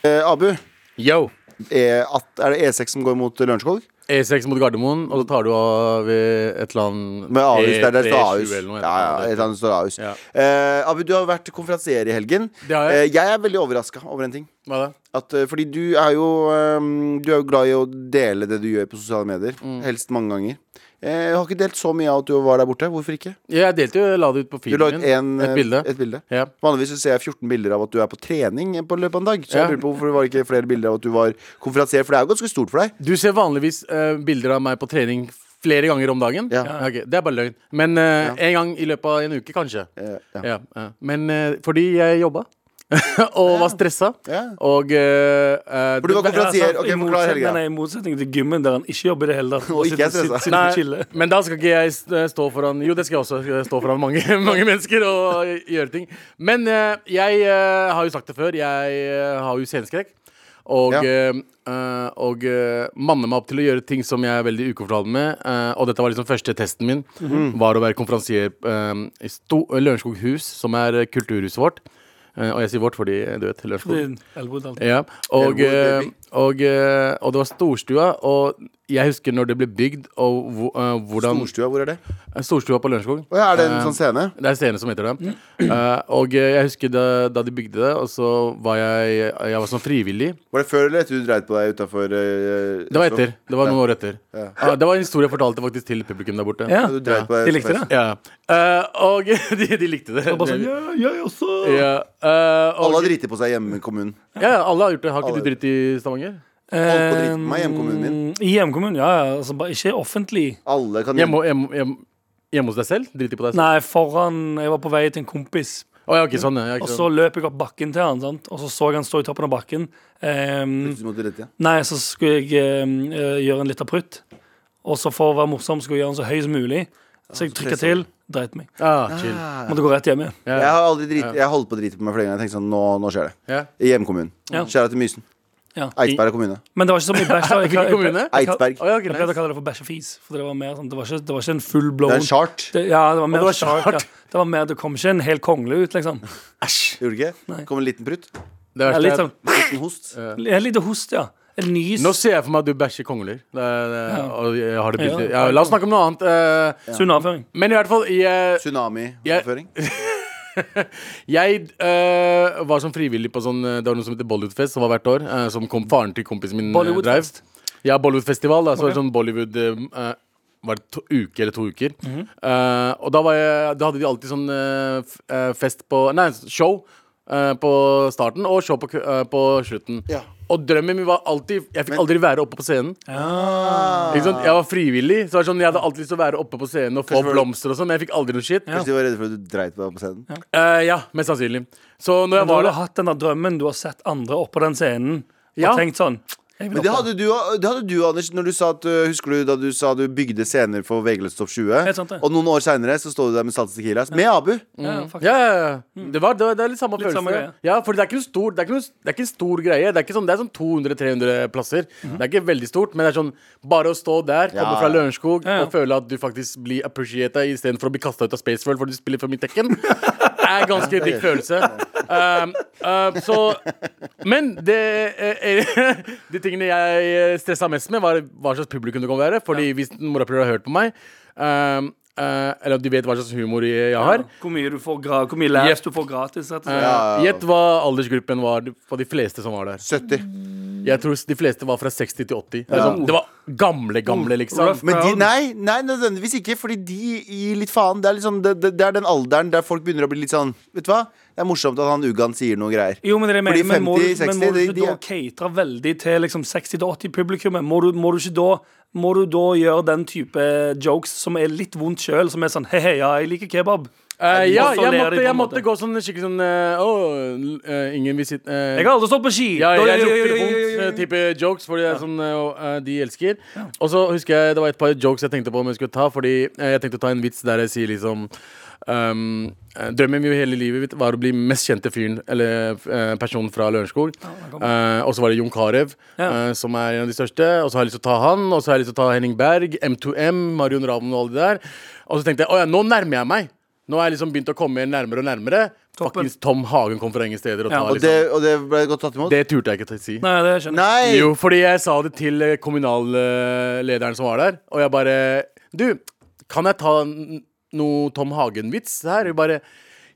B: Eh, Abu,
C: Yo.
B: E8, E, er det E6 som går mot Lørenskog?
C: E6 E mot Gardermoen, og så tar du av ved et eller annet
B: Med Ahus, der det står
C: E3
B: Ahus.
C: E eller noe,
B: Ja, ja, et eller annet står Ahus.
C: Ja.
B: Eh, Abu, du har vært konferansier i helgen.
C: Det har jeg.
B: Eh, jeg er veldig overraska over en ting.
C: Hva da?
B: At, eh, fordi du er, jo, eh, du er jo glad i å dele det du gjør på sosiale medier.
C: Mm.
B: Helst mange ganger. Eh, jeg har ikke delt så mye av at du var der borte. Hvorfor ikke?
C: Ja, Jeg delte jo, la det ut på
B: Du la ut
C: filmen
B: en,
C: Et
B: eh,
C: bilde.
B: et bilde.
C: Ja.
B: Vanligvis så ser jeg 14 bilder av at du er på trening på løpet av en dag. Så
C: Ja.
B: jeg lurer på hvorfor det var ikke flere bilder av at du var konferansier, for det er jo ganske stort for deg.
C: Du ser vanligvis eh, bilder av meg på trening flere ganger om dagen.
B: Ja.
C: Ok, det er bare løgn. Men eh, en gang i løpet av en uke, kanskje.
B: Eh, ja.
C: Ja, ja. Men eh, fordi jeg jobba. og var stressa.
B: Ja.
C: Og eh, eh,
B: For du var
C: det-
B: konferansier. Ok,
D: i,
B: forklar hele
D: motsetning,
B: greia.
D: nei, I motsetning til gymmen, der han ikke jobber i det hele tatt.
B: Og ikke er stressa.
C: Nei,
D: stressa.
C: men da skal ikke jeg st- stå foran Jo, det skal jeg også. eh, Stå foran mange, mange mennesker og gjøre ting. Men eh, jeg eh, har jo sagt det før, jeg eh, har jo sceneskrekk. Og,
B: Ja.
C: eh, eh, og eh, manner meg opp til å gjøre ting som jeg er veldig ukomfortabel med. eh, og dette var liksom første testen min. Var å være konferansier eh, i Sto- Lørenskog hus, som er eh, kulturhuset vårt. Eh, og jeg sier vårt fordi eh, du vet Lørenskog. Ja, og,
B: Elwood,
C: eh,
B: baby.
C: og, eh, og det var storstua, og jeg husker når det ble bygd, og hvor- eh, hvordan
B: Storstua, hvor er det?
C: Eh, Storstua på Lørenskog.
B: Og ja, er det en
C: Eh,
B: sånn Mm. scene?
C: Det er en scene som heter det. Eh, og eh, jeg husker da, da de bygde det, og så var jeg Jeg var sånn frivillig.
B: Var det før eller etter du dreit på deg eh, utafor
C: Det var etter. Det var noen år etter. Ah, det var en historie jeg fortalte faktisk til publikum der borte.
D: Ja.
B: Du dreit på deg
D: De likte
B: utenfor.
D: det.
C: Ja. Eh, og de, de likte det.
D: Bare sånn, ja, jeg også.
C: Ja, eh, og,
B: Alle har driti på seg hjemme i kommunen.
C: ja, alle har gjort det. Har ikke
B: Alle.
C: du dritt i Stavanger?
B: Holdt på å drite meg i hjemkommunen min.
D: Mm, I hjemkommunen, ja. ja. Altså, bare ikke offentlig.
B: Alle kan
C: Hjemme, hjemme, hjemme, hjemme hos deg selv? Drite på deg selv?
D: Nei, foran Jeg var på vei til en kompis,
C: Å, ja, ok, sånn, ja,
D: og
C: ikke
D: så
C: sant.
D: løp jeg opp bakken til han, sant? og så så jeg han stå i toppen av bakken. Ehm,
B: Du måtte rette, ja.
D: nei, så skulle jeg ehm, eh, gjøre en liten prutt. Og så for å være morsom skulle jeg gjøre den så høy som mulig. Så jeg trykka
B: presset
D: til, dreit meg.
C: Ah, chill.
D: Måtte gå rett hjem igjen.
C: Ja.
B: Jeg har aldri drit, jeg holdt på å drite på meg flere ganger. Jeg tenkte sånn, nå, nå skjer det.
C: Ja.
B: I hjemkommunen.
D: Ja.
B: Skjæra til Mysen.
D: Ja.
B: Eidsberg kommune.
D: Men det var ikke så mye bæsj. da. Jeg-
C: Hvilken kommune?
D: Jeg- jeg-
B: Eidsberg.
C: Å, ja, ok,
D: Jeg pleide å
C: nice.
D: kalle det for bæsjefis. For det var mer sånn, det var ikke, det var ikke en full blown
B: Det er en chart.
D: Det, ja, det var mer
C: det var
D: shark,
C: shark.
D: Ja. Det var mer, det kom ikke en hel kongle ut, liksom.
B: Gjorde det ikke? Kom en liten prutt.
C: Det
D: Ja,
C: verste
D: litt
C: er-
D: sånn,
B: Liten host.
D: En liten host, ja. En nys.
C: Nå ser jeg for meg at du bæsjer kongler. Det, er- det, er- og jeg har det bildet.
D: Ja.
C: Ja, la oss snakke om noe annet. eh,
D: Sunn avføring.
C: Men i hvert fall jeg, Jeg-
B: Tsunami-oppføring.
C: jeg eh, var som frivillig på sånn eh, Det var noe som heter Bollywoodfest, som var hvert år. eh, som kom faren til kompisen min eh, drev.
D: Bollywoodfest.
C: Ja, Bollywoodfestival. da, Så var det sånn Bollywood eh, eh, Var det to uker eller to uker? Eh, og da, var jeg, da hadde de alltid sånn eh, f- eh, fest på Nei, show eh, på starten og show på, k- eh, på slutten.
B: Ja.
C: Og drømmen min var alltid Jeg fikk
B: Men-
C: aldri være oppe på scenen.
D: Ah.
B: Ah.
C: Ikke sant? Jeg var frivillig. Så det var sånn, Jeg hadde alltid lyst til å være oppe på scenen og få
B: var det-
C: blomster og sånn, men jeg fikk aldri noe shit.
B: Hvis de var redde for at du dreit på deg på scenen.
C: Eh, ja, mest sannsynlig. Så når jeg
D: Du
C: var
D: har
C: der
D: jo hatt den der drømmen du har sett andre oppå den scenen, og
C: Ja.
D: tenkt sånn jeg vil
B: Men det
D: opp der.
B: hadde, du, det hadde du, Anders, når du sa at uh, Husker du da du sa du bygde scener for VG-lista Topp 20?
D: Helt sant, det.
B: Og noen år seinere så står du der med Salsa Tequila. Med Abu.
D: Ja, faktisk. Mm.
C: ja, ja, ja. Det, var, det, var, det er litt samme
D: Litt
C: følelse.
D: samme greie.
C: ja, for det er ikke noe stor, det er ikke noe, det er ikke en stor greie. Det er, ikke sånn, det er sånn 200-300 plasser.
D: Mhm.
C: Det er ikke veldig stort, men det er sånn bare å stå der, komme
B: Ja,
C: fra
B: ja.
C: Lørenskog
D: ja.
C: og føle at du faktisk blir appreciata istedenfor å bli kasta ut av Space World fordi du spiller for mitt tekken, er ganske digg følelse. Um, um, så Men det eh, eh, De tingene jeg stressa mest med, var hva slags publikum det kan være. Fordi hvis morapuler har hørt på meg, um, eh, eller at de vet hva slags humor jeg har
D: Hvor mye du får gra Hvor mye lærs
C: Jepp.
D: du får gratis, rett og
B: Ja,
D: slett.
B: ja, ja.
C: Eh, Gjett hva aldersgruppen var på de fleste som var der.
B: 70.
C: Jeg tror de fleste var fra 60 til 80. Det, er sånn, det var gamle, gamle,
D: Rough.
C: liksom.
B: Men de,
D: Proud.
B: nei, nei, nødvendigvis ikke, fordi de gir litt faen. Det er, litt sånn- det, det, det er den alderen der folk begynner å bli litt sånn Vet du hva? Det er morsomt at han Ugan sier noe greier.
D: Jo, men det er det jeg
B: Fordi
D: mener, men må, du-
B: 50,
D: men må du
B: 60,
D: ikke
B: de-
D: da catere veldig til liksom 60-80-publikummet? Må, du- må du ikke da Må du da gjøre den type jokes som er litt vondt sjøl, som er sånn he-he, ja, jeg liker kebab?
C: Eh, ja,
D: Hvorfor
C: jeg
D: ler de
C: måtte,
D: på en
C: jeg
D: måte?
C: måtte gå sånn skikkelig sånn eh, Å, eh, ingen vil sitte eh,
D: Jeg har aldri stått på ski!
C: ja, jeg
D: Da- ja, ja,
C: ropte
D: ja, ja, ja, ja.
C: punkt-type eh, jokes, fordi det er sånn eh, og, eh, de elsker. Og så husker jeg det var et par jokes jeg tenkte på om jeg skulle ta, fordi eh, jeg tenkte å ta en vits der jeg sier liksom ehm, eh, Drømmen min hele livet mitt var å bli mest kjente fyren, eller eh, personen fra Lørenskog. Eh, og så var det Jon Carew,
D: Ja.
C: eh, som er en av de største. Og så har jeg lyst til å ta han, og så har jeg lyst til å ta Henning Berg, M2M, Marion Ravn og alle de der. Og så tenkte jeg å ja, nå nærmer jeg meg. Nå har jeg liksom begynt å komme nærmere og nærmere.
D: Toppen.
C: Fuckings Tom Hagen kom fra ingen steder og
D: Ja.
C: ta,
B: Og det,
C: liksom.
B: og det ble godt tatt imot?
C: Det turte jeg ikke til å si.
D: Nei, det skjønner jeg.
B: Nei!
C: Jo, fordi jeg sa det til eh, kommunallederen som var der, og jeg bare Du, kan jeg ta n- noe Tom Hagen-vits her? Hun bare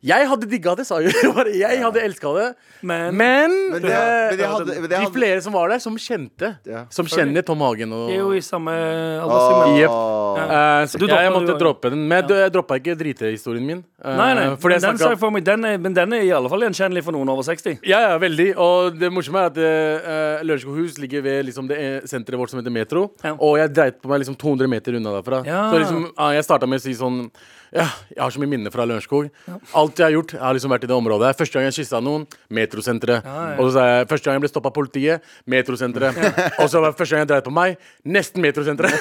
C: jeg hadde digga det, sa hun. Hun bare, Jeg hadde elska det.
D: Men-
B: Men det-
C: eh,
B: men det hadde- men det
C: de
B: hadde-
C: flere som var der, som kjente.
B: Ja.
C: Som kjenner Tom Hagen. Og,
D: Vi er jo i samme
B: Åh.
D: alderssegment.
C: Eh, så
D: Du
C: jeg,
D: droppet
C: måtte
D: det jo.
C: droppe den. Men jeg, jeg droppa ikke dritehistorien min. eh,
D: Nei, nei,
C: fordi jeg
D: men den, sa
C: snakket-
D: jeg for meg, den er, men den er i alle fall gjenkjennelig for noen over 60.
C: Ja, ja, veldig. Og det morsomme er at uh, Lørenskog hus ligger ved liksom, det eh, senteret vårt som heter Metro.
D: Ja.
C: Og jeg dreit på meg liksom 200 meter unna derfra.
D: Ja.
C: Så liksom, ja, jeg starta med å si sånn Ja, jeg har så mye minner fra Lørenskog. Alt jeg har gjort, jeg har liksom vært i det området. her. Første gang jeg kyssa noen, metrosenteret. Og så sa jeg første gang jeg ble stoppa av politiet, metrosenteret. Og så var det første gang jeg dreit på meg, nesten metrosenteret.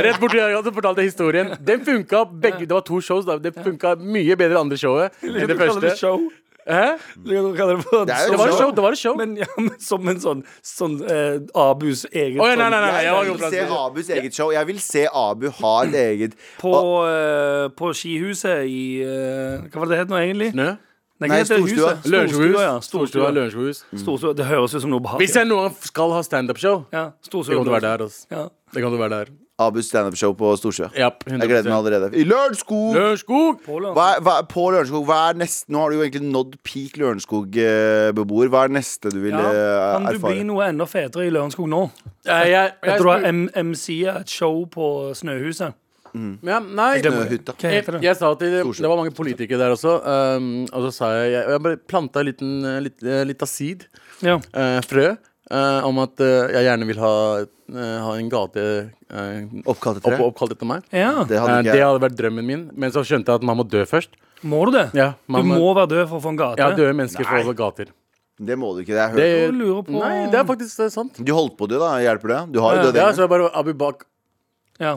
C: Rett borti der, og så fortalte jeg historien. Den funka begge. Det var to shows, da. Det funka mye bedre det andre showet enn det
D: Du kaller
C: første.
D: show.
C: Hæ?
D: Du kaller det for
B: Det er jo
C: Det var et show. Det var et show.
D: Men, ja, men som en sånn, sånn eh, Abus eget
C: Å, ja, nei, nei, nei,
B: Jeg,
C: jeg var
B: vil
C: god
B: se Abus eget show. Jeg vil se Abu ha et eget
D: sånn På, eh, på skihuset i eh, Hva var det det het nå egentlig?
C: Snø?
D: Nei,
B: Nei,
D: hva heter det
B: Storstua.
D: huset?
C: Lørenskog
D: Storstua, ja.
C: hus. Storstua,
D: Storstua.
C: Lørenskog hus.
D: Storstua. Det høres ut som noe behagelig.
C: Hvis jeg noen gang skal ha standup-show,
D: ja, Storstua.
C: det kan du være der. Altså.
D: Ja.
C: Det kan du være der.
B: Abus standup-show på Storsjø.
C: Japp,
B: Jeg gleder meg allerede. I Lørenskog!
C: Lørenskog!
D: Pålønn.
B: Hva, er- hva, er- på Lørenskog, hva er neste, Nå har du jo egentlig nådd peak Lørenskog-beboer. Hva er det neste du vil
D: Ja,
B: eh,
D: kan du bli
B: erfare?
D: noe enda fetere i Lørenskog nå?
C: Jeg, jeg,
D: Jeg
C: jeg,
D: tror
C: spurte-
D: jeg MC-er et show på Snøhuset.
C: ja, nei, jeg,
B: Snøhytta.
D: Hva heter det?
C: jeg sa til Det var mange politikere der også, um, og så sa jeg Jeg, jeg bare planta en liten, litt, eh, litt acid.
D: Ja.
C: eh, frø. eh, om at eh, jeg gjerne vil ha, eh, ha en gate eh,
B: Oppkalt etter det?
C: opp, oppkalt etter meg.
D: Ja.
B: Det hadde
C: Eh,
B: ikke
C: det
B: jeg.
C: hadde vært drømmen min, men så skjønte jeg at man må dø først.
D: Må du det?
C: Ja, man
D: du må være død for å få en gate?
C: ja, døde mennesker får over gater.
B: Det må du ikke. Det er
C: Det,
B: hørt.
D: Jeg lurer på-
C: Nei, det er faktisk eh, sant.
B: Du holdt på det, da. Hjelper det? Du har jo
D: Ja,
B: det.
C: Ja,
B: delen.
C: så jeg bare Abu Bak
D: Ja,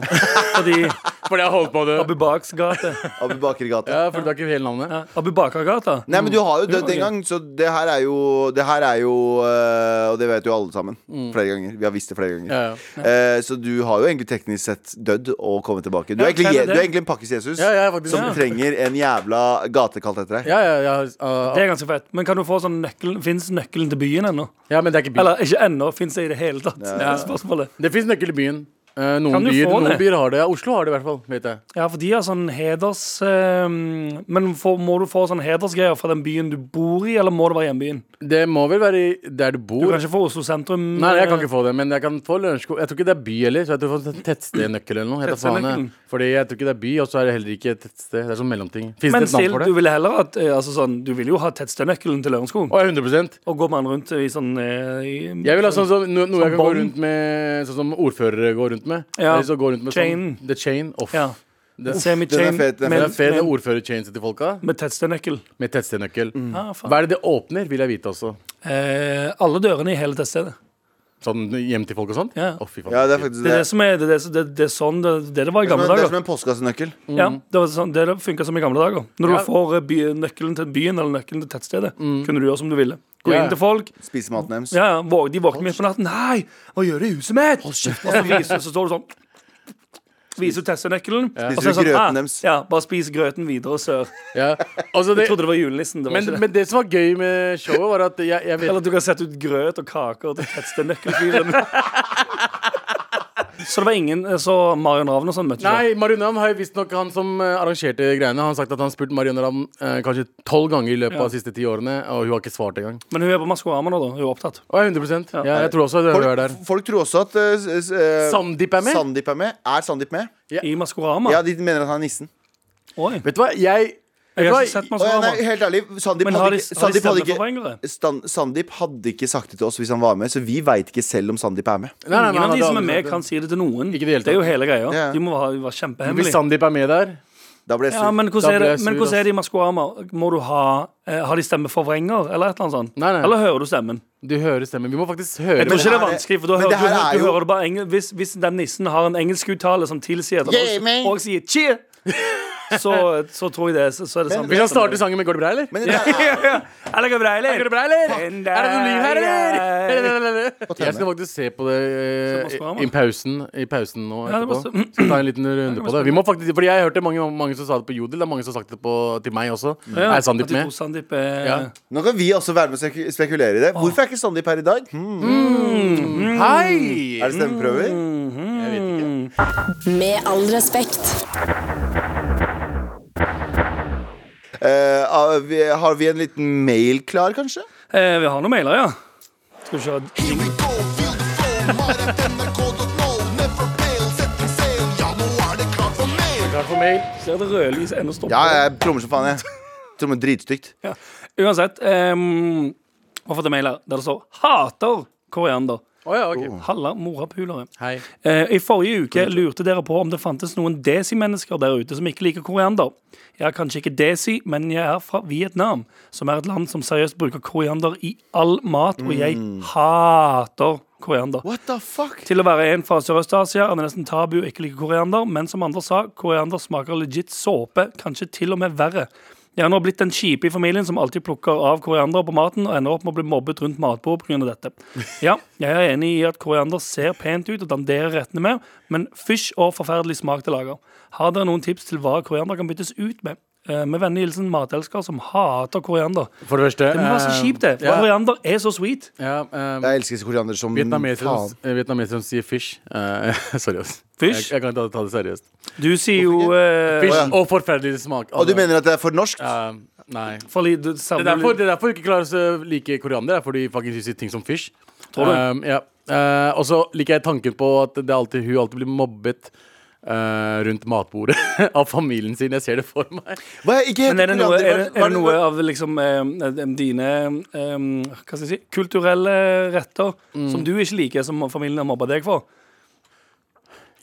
D: fordi
C: Fordi jeg holdt på det.
D: Abu Baks gate.
B: Abu Baker gate.
C: Ja, Mm. for det er ikke hele navnet.
D: Ja, Abu Bakagata.
B: Nei, men du har jo dødd
D: ok.
B: en gang, så det her er jo Det her er jo øh, Og det vet jo alle sammen. Flere ganger. Vi har visst det flere ganger.
C: Mm. Ja, ja.
B: Eh, så du har jo egentlig teknisk sett dødd og kommet tilbake. Du er
D: Ja,
B: egentlig,
D: det
B: Je-
D: er
B: du
D: det.
B: er egentlig en pakkes Jesus
C: Ja, jeg er faktisk-
B: som
C: ja.
B: trenger en jævla gate kalt etter deg.
C: Ja, ja, ja, ja,
D: Det er ganske fett. Men kan du få sånn nøkkelen Fins nøkkelen til byen ennå?
C: ja men det er ikke by.
D: Eller ikke ennå, fins det i det hele tatt? Det er spørsmålet.
C: Det fins nøkkel i byen. Eh, noen,
D: Kan du
C: byer,
D: få
C: noen
D: det?
C: byer har det. Ja, Oslo har det i hvert fall. Vet jeg.
D: Ja, for de har sånn heders... eh, men får- må du få sånn hedersgreier fra den byen du bor i, eller må det være hjembyen?
C: Det må vel være i- der du
D: Du
C: bor.
D: kan ikke få Oslo sentrum.
C: Nei, jeg kan ikke få det, men jeg kan få Lørenskog. Jeg tror ikke det er by heller, så jeg tror jeg får en tettstednøkkel eller noe. heter faen jeg.
D: Tettstednøkkelen.
C: Fordi jeg tror ikke det er by, og så er det heller ikke et tettsted. Det er sånn mellomting. Fins det
D: Men
C: et navn
D: still,
C: for
D: du
C: det?
D: vil heller at eh, altså sånn, Du vil jo ha tettstednøkkelen til Lørenskog.
C: Å, ja, 100
D: Og går man rundt i sånn eh, i,
C: Jeg vil ha sånn som, no, noe jeg kan
D: Sånn
C: gå
D: bånd.
C: rundt med, sånn som ordførere går rundt med.
D: Ja.
C: Eller så går rundt med
D: Chain.
C: Sånn, the chain. Off.
D: ja.
C: Det-
B: den
D: Semi-chain
B: er fet, den er
C: Det er
D: med,
C: fair det er
D: med,
C: ordførerchainset til folka,
D: med tettstednøkkel.
C: med tettstednøkkel.
D: Ah, faen.
C: Hva er det det åpner, vil jeg vite også.
D: Eh, alle dørene i hele tettstedet.
C: Sånn hjem til folk og sånn?
D: Ja.
C: Å, fy faen.
B: Ja, det er faktisk
D: Det
B: det.
D: er det som er, det er, det som- det, det er sånn det, det, det var i
B: Det er som
D: gamle
B: en- det er
D: dager.
B: som en postkassenøkkel.
D: Ja, det var sånn, det funka som i gamle dager. Når
C: Ja.
D: du får eh, by, nøkkelen til byen eller nøkkelen til tettstedet, kunne du gjøre som du ville. Gå
C: Ja.
D: inn til folk.
B: Spise maten deres.
D: Ja, ja, vå- de våkner midt på natten. 'Hei, hva gjør du i huset mitt?' Og så, viser, så står du sånn. Viser du tettstednøkkelen. og så er det
B: Spiser du grøten
D: «Ah,
B: deres?»
D: Ja, bare spis grøten videre og sør.
C: Ja. Altså, det,
D: Jeg trodde det var julenissen. Det var
C: men,
D: ikke det.
C: men det som var gøy med showet, var at jeg, jeg vet
D: Eller at du kan sette ut grøt og kaker til tettstednøkkelfyren. så det var ingen eh, Så Marion Ravn og sånn møtte ikke?
C: Nei, Marion Ravn har jo visstnok han som eh, arrangerte greiene. Han har sagt at han har spurt Marion Ravn eh, kanskje tolv ganger i løpet
D: Ja.
C: av de siste ti årene, og hun har ikke svart engang.
D: Men hun er på Maskorama nå, da. Hun er opptatt.
C: Å, 100 ja. jeg tror også hun er
B: Folk,
C: der.
B: folk tror også at eh, s- s- eh,
C: Sandeep er med?
B: Sandeep er med. Er Sandeep med?
D: I Maskorama?
B: Ja, de mener at han er nissen.
D: Oi.
C: Vet du hva, jeg vet du
D: Jeg
C: hva?
D: har ikke
B: Å,
D: sett
B: ja, nei,
D: Maskorama.
B: helt ærlig, Sandeep
D: Men
B: hadde,
D: har de,
B: ikke-
D: har de
B: Sandeep hadde ikke
D: stemmeforvrengere?
B: Stan, Sandeep hadde ikke sagt det til oss hvis han var med, så vi veit ikke selv om Sandeep er med.
C: Nei, nei, nei, han
D: Ingen av de
C: hadde
D: som er
C: aldri
D: med,
C: sagt
D: kan si det til noen.
C: Ikke i det hele
D: Det er jo hele greia.
B: Ja.
D: De må ha- være
C: Hvis
D: kjempehemmelige.
C: Sandeep er med der
B: Da ble jeg
D: Ja,
B: sur.
D: men
C: Da
D: hvordan er det,
C: blir jeg
D: men
C: sur,
D: hvordan
C: ass.
D: er det i Maskorama? Må du ha eh, Har de stemmeforvrenger, eller et eller annet sånt?
C: Nei, nei.
D: Eller hører du stemmen?
C: Du hører stemmen. Vi må faktisk høre
D: Jeg tror ikke det
B: her
D: er
B: er-
D: vanskelig, for da
B: men
D: hører,
B: det
D: du,
B: her er
D: hører, du
B: jo-
D: hører det bare engel, hvis, hvis den nissen har en engelskuttale som tilsier at han
B: Yeah, man.
D: også, og sier 'cheer', så, så tror jeg det, så, så er det sant.
C: Vi kan starte sangen med 'Går det bra', eller?
B: Men det der er
D: Eller går det bra, eller?
C: Går det bra, eller?
D: Den
C: Er det noe liv her,
D: der-
C: eller? Jeg skal
B: tenne.
C: faktisk se på det eh,
D: Se på Maskorama.
C: i pausen, i pausen nå
D: Ja, det
C: etterpå.
D: var så-
C: Så ta en liten runde på det. Vi må faktisk, fordi jeg hørte mange, mange som sa det på Jodel. Det er mange som har sagt det på, til meg også. Er
D: At
C: Sandeep
D: de tror
C: med?
D: Sandeep er
C: Ja.
B: Nå kan vi også være med og spek- spekulere i det. Hvorfor er ikke Sandeep her i dag? Hmm.
D: Mm.
C: Hei!
B: Er det stemmeprøver?
C: Jeg vet ikke.
E: Med all respekt.
B: Eh, ah, vi, har vi en liten mail klar, kanskje?
D: Eh, Vi har noen mailer, ja. Skal vi se
F: Here we go, feel the flow, mad at nrk.no, never fail, setting sail, ja nå er det klart for mail.
C: Klar for mail.
D: Ser det rødlys ennå stå
B: Ja, jeg trommer som faen, jeg. Trommer dritstygt.
D: Ja. Uansett, um, har fått en mail her der det står 'hater koriander'.
C: Å ja, ok.
D: Halla morapulere.
C: Hei.
D: Eh, I forrige uke lurte dere på om det fantes noen desi-mennesker der ute som ikke liker koriander. Jeg er kanskje ikke desi, men jeg er fra Vietnam, som er et land som seriøst bruker koriander i all mat, og jeg hater koriander.
B: What the fuck?
D: Til å være en fra Sørøst-Asia er det nesten tabu å ikke like koriander, men som andre sa, koriander smaker legit såpe, kanskje til og med verre. Jeg har nå blitt den kjipe i familien som alltid plukker av koriander på maten, og ender opp med å bli mobbet rundt matbord pga. dette. Ja, jeg er enig i at koriander ser pent ut og danderer rettene med, men fysj og forferdelig smak det lager. Har dere noen tips til hva koriander kan byttes ut med? Eh, Med vennlig hilsen matelsker som hater koriander.
C: For det første
D: Det må være så
C: eh,
D: kjipt, det. For
C: ja,
D: koriander er så sweet.
C: ja, eh,
B: Jeg elsker koriander som
C: Vietnamesere
B: faen.
C: som- eh, vietnamesere som sier fish. Eh, sorry, ass.
D: Fish?
C: Jeg, jeg kan ta, ta det seriøst.
D: Du sier jo eh,
C: Fish
B: Å, ja.
C: og forferdelig smak.
B: Og du mener at det er for norsk?
C: Eh, Nei.
D: for li- du
C: Det er derfor,
D: samler-
C: det er derfor vi ikke klarer å like koriander. Det er fordi vi faktisk spiser ting som fish. Ehm,
D: Tror du?
C: Um, ja. Eh, og så liker jeg tanken på at det er alltid, hun alltid blir mobbet eh, rundt matbordet av familien sin. Jeg ser det for meg.
B: Hva, ikke
D: Men er det noe, er det, er det noe
B: av
D: av liksom eh, eh, dine eh, hva skal jeg si, kulturelle retter
C: Mm.
D: som du ikke liker, som familien har mobba deg for?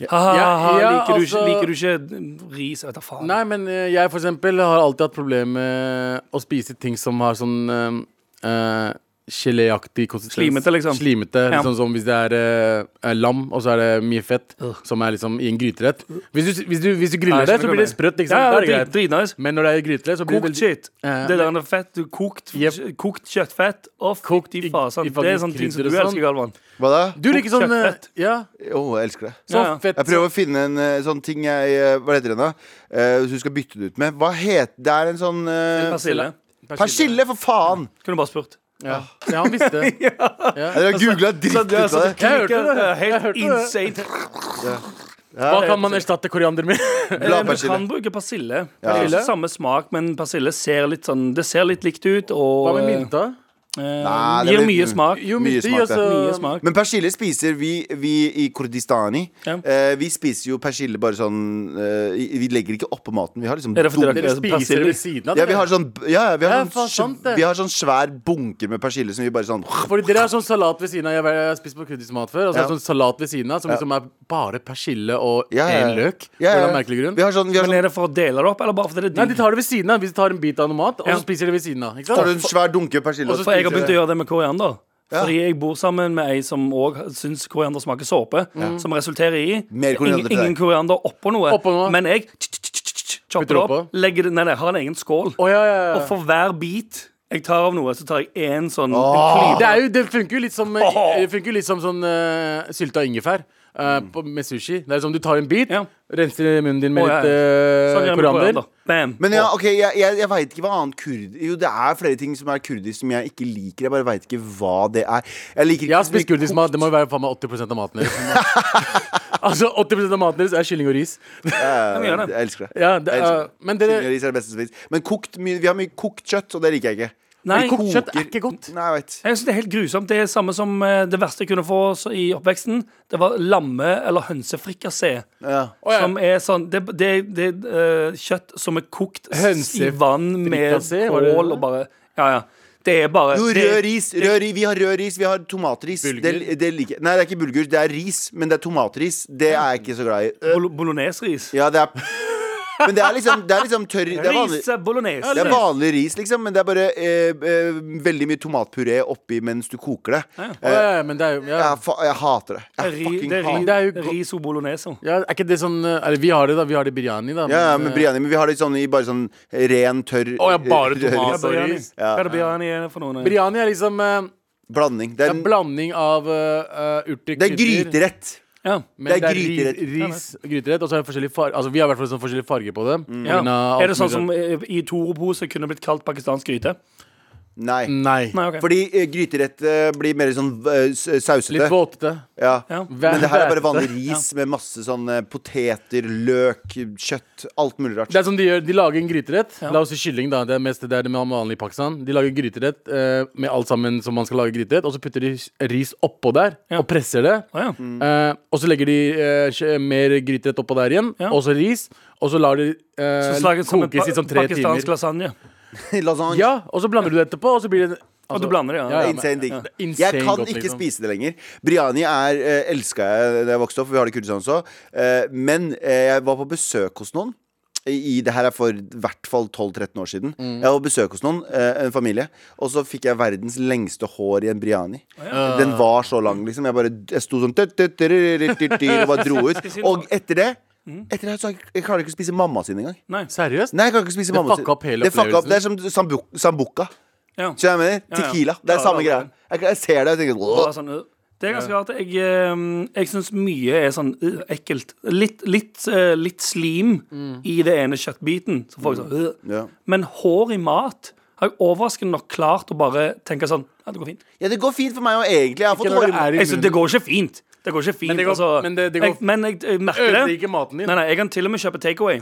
D: Ha-ha,
C: ja,
D: liker, du ikke-
C: altså-
D: liker du ikke ris? Jeg vet da faen.
C: Nei, men eh, jeg for eksempel har alltid hatt problemer med å spise ting som har sånn eh, eh, Geléaktig konsistens.
D: Slimete, liksom.
C: Slimete,
D: Ja.
C: liksom som Hvis det er eh, eh, lam, og så er det mye fett, som er liksom i en gryterett. Hvis du, hvis du, hvis du
D: Nei,
C: griller
D: jeg
C: det, så blir det
D: skjønner
C: sprøtt. Ikke
D: ikke
C: sant?
D: hva
C: Da
D: du mener. Ja,
C: er
D: ja,
C: det greit.
D: drit- dritnice.
C: Men når det er i gryterett, så blir det
D: Kokt shit.
C: Eh,
D: det der er fett, du kokt,
C: Jep.
D: kokt kjøttfett. Å,
C: Kokt
D: fytti
C: i-
D: fasan.
C: i
D: Det er
C: faktisk
D: sånne ting som
C: krydder
D: du
C: og sånn.
D: elsker, Galvan.
B: Hva da?
C: Du liker
D: Kokt
C: sånn eh,
D: kjøttfett.
C: Ja,
B: Jo, jeg elsker det.
C: så
D: Ja, ja.
C: fett.
B: Jeg prøver å finne en eh, sånn ting jeg eh, Hva heter den, da? Eh, Hvis du skal bytte det ut med. Hva het Det er en sånn eh,
D: Persille.
B: Persille, for faen!
D: Kunne bare spurt.
C: Ja. ja, han visste.
B: Jeg har googla dritt
D: Så
B: ut
D: du har
B: av
D: sånn
B: det.
C: Jeg hørte
D: klikker,
C: det. Jeg
D: Helt
C: hørte det.
D: insane.
C: Hva kan man erstatte koriander med?
D: Eh, Vi
B: Bladpersille.
D: kan bruke persille. Det er
C: Persille?
D: ikke samme smak, men persille ser litt sånn Det ser litt likt ut og
C: Hva med mynta?
D: eh,
B: Nei, det
D: gir
B: blir-
D: mye smak.
C: Jo,
B: Mye
C: mynte
B: smak,
C: gir
B: det.
C: altså
D: Mye smak.
B: Men persille spiser vi, vi i Kurdistani.
D: Ja.
B: Eh, vi spiser jo persille bare sånn eh, i- Vi legger ikke oppå maten. Vi har liksom
D: Er det fordi
B: dunk-
D: dere
C: Dere spiser det ved
D: persille?
C: siden av?
B: ja,
C: dere.
B: vi har sånn, ja, ja, vi har,
C: Ja,
B: sånn,
C: faen, sant det.
B: vi har sånn svær bunker med persille som vi bare sånn
C: Fordi dere har sånn salat ved siden av. Jeg har spist på kurdisk mat før. Altså
B: Ja.
C: sånn salat ved siden av Som liksom er bare persille og én
B: Ja, ja, ja.
C: løk.
B: Ja, ja,
C: For
B: ja.
C: en merkelig grunn
B: Vi har sånn, vi har
D: Men
B: sånn
D: er det for å dele det opp, eller bare fordi det
C: Nei,
D: er
C: de
D: digg?
C: tar det ved siden av. Hvis de tar en bit av noe mat, og
D: Ja.
C: så spiser de ved siden av. Ikke
B: Tar du en
C: sant?
B: svær dunke persille?
C: Og så
B: og-
D: For jeg har begynt å
C: det.
D: gjøre det med koriander.
B: Ja.
D: Fordi jeg bor sammen med ei som òg syns koriander smaker såpe. Som resulterer i
B: Mm. Mer koriander
D: ingen,
B: til deg.
D: ingen koriander oppå noe.
C: Oppå noe.
D: Men jeg
C: Putter
D: chopper det
C: oppå.
D: opp, legger det Nei, nei, jeg har en egen skål.
C: Å, ja, ja, ja.
D: Og for hver bit jeg tar av noe, så tar jeg én sånn
C: Det,
D: klype.
C: er jo, det funker jo litt som, eh,
D: Åh.
C: det funker jo litt som sånn uh, sylta ingefær. eh,
B: Mm.
C: på, med sushi. Det er som du tar en bit,
D: Ja.
C: renser munnen din med
D: Å, ja,
C: litt
D: Sånn
C: eh,
D: gjør jeg med
C: koriander.
D: Bam.
B: Men ja, ok, jeg, jeg, jeg veit ikke hva annet kurd... Jo, det er flere ting som er kurdisk som jeg ikke liker. Jeg bare veit ikke hva det er. Jeg liker
C: Jeg
B: ikke
C: har spist kurdisk mat. Det må jo være faen meg 80 av maten deres. altså, 80 av maten deres er kylling og ris.
B: Jeg,
D: gjør det.
B: jeg elsker det.
C: Ja, det,
B: Jeg elsker
C: eh, men dere
B: Kylling og ris er det beste som finnes. Men kokt mye, vi har mye kokt kjøtt, og det liker jeg ikke.
D: Nei,
C: Men kokt kjøtt er ikke godt.
B: Nei, jeg vet.
D: Jeg synes Det er helt grusomt. Det er samme som eh, det verste jeg kunne få så- i oppveksten. Det var lamme- eller hønsefrikassé.
B: Ja.
C: ja.
D: Som er sånn Det, det, det er eh, kjøtt som er kokt s- i
C: Hønsefrikassé,
D: vann med
C: var det det
D: kål og bare Ja, ja. Det er bare
B: Jo,
D: det,
B: rød ris. Rød, ri- vi har rød ris, vi har tomatris. Det,
C: Bulgur?
B: det liker jeg. Nei, det er ikke bulgur, det er ris, men det er tomatris. Det er jeg ikke så glad i. Øh,
D: bolo- Bolognesris.
B: Ja, det er Men det er liksom, det er liksom tørr det er, vanlig,
D: Rise bolognese.
B: det er vanlig ris, liksom, men det er bare eh, eh, veldig mye tomatpuré oppi mens du koker det. Eh,
C: Å, ja, ja, men det er jo ja.
B: Jeg, fa jeg hater det. Jeg
D: Ri,
B: fucking
D: det er, ri,
B: hater det.
C: det er jo go-
D: riso bolognese.
C: Ja, er ikke det sånn eh, Eller vi har det, da. Vi har det i biryani, da. eh,
B: Ja, ja, men Briani, men vi har det sånn i bare sånn ren, tørr
C: Å, ja, bare
B: eh,
C: tomat.
B: ris.
D: Biryani.
B: Ja.
D: Hva er det biryani er for noen?
C: Biryani er liksom eh,
B: Blanding. Det
C: det
B: er,
C: er en
B: en-
C: blanding av eh, eh, urter,
B: det er gryterett.
D: Ja.
C: Men
B: det er
C: det er ri- ris, gryterett, og så er det forskjellig farge Altså, vi har i hvert fall sånn forskjellig farge på det.
B: Mm.
C: på
D: Ja.
C: grunn av alt
D: Er det sånn som
C: mulig.
D: eh, i Toro-pose kunne blitt kalt pakistansk gryte?
B: Nei.
C: Nei.
D: Nei, ok
B: Fordi eh, gryterett eh, blir mer sånn eh, s- sausete.
C: Litt våtete.
B: Ja.
D: Ja.
B: Men det her er bare
C: Vætete.
B: vanlig ris med masse sånn eh, poteter, løk, kjøtt. Alt mulig rart.
C: Det er som De gjør, de lager en gryterett. La oss si kylling. da Det er mest det er det man vanlig i Pakistan. De lager gryterett eh, med alt sammen som man skal lage gryterett, og så putter de ris oppå der
D: Ja.
C: og presser det.
D: Å, ja.
B: Mm.
C: Eh, og så legger de eh, kjø- mer gryterett oppå der igjen,
D: Ja.
C: og så ris. Og så lar de eh,
D: Så slaget som en
C: kokes i
D: pa
C: sånn tre
D: pakistansk
C: timer.
D: lasagne.
B: Lasagne.
C: Ja, Og så blander du det etterpå, og så blir det altså,
D: Og du blander det, ja.
C: Ja, ja,
B: Insane digg.
C: det er insane
B: jeg kan
C: godt,
B: ikke
C: liksom.
B: spise det lenger. Briani er eh, elska jeg da jeg vokste opp, for vi har det i Kurdistan også. Eh, men eh, jeg var på besøk hos noen. I, i- det her er for i hvert fall 12-13 år siden.
C: Mm.
B: Jeg var på besøk hos noen, eh, en familie, og så fikk jeg verdens lengste hår i en briani. Eh, Den var så lang, liksom. Jeg bare jeg sto sånn tut, tut, tut, tut, tut, og bare dro ut. Og etter det
C: Mm.
B: Etter det så har jeg, jeg klarer ikke å spise mamma sin engang.
D: Nei.
C: Seriøst?
B: Nei, jeg kan ikke spise
C: Det
B: mamma
C: fucka opp hele
B: Det fucka opp.
C: opplevelsen.
B: Det er som sambuk sambuca.
D: Ja.
B: Så jeg mener,
D: ja.
B: tequila. Det
D: Ja,
B: er samme
D: det er
B: greia.
D: det.
B: Jeg, jeg ser det og tenker
D: Og
B: Åh.
D: bare sånn, øh. Det er ganske rart. Jeg, eh, jeg syns mye er sånn øh, ekkelt. Litt, litt, eh, litt slim
C: Mm.
D: i det ene kjøttbiten. Så får jeg sånn, øh.
B: Ja.
D: Men hår i mat har jeg overraskende nok klart å bare tenke sånn Ja, det går fint.
B: Ja, det går fint for meg òg, egentlig. Jeg har fått
C: når
B: hår
C: det
B: i
C: er i
D: Jeg synes, det går ikke fint. Det går ikke fint.
C: Men det går-
D: altså.
C: men det- det går-
D: jeg, men jeg, jeg merker det.
C: Ødelegger Mm. ikke maten din.
D: Nei, nei, Jeg kan til og med kjøpe takeaway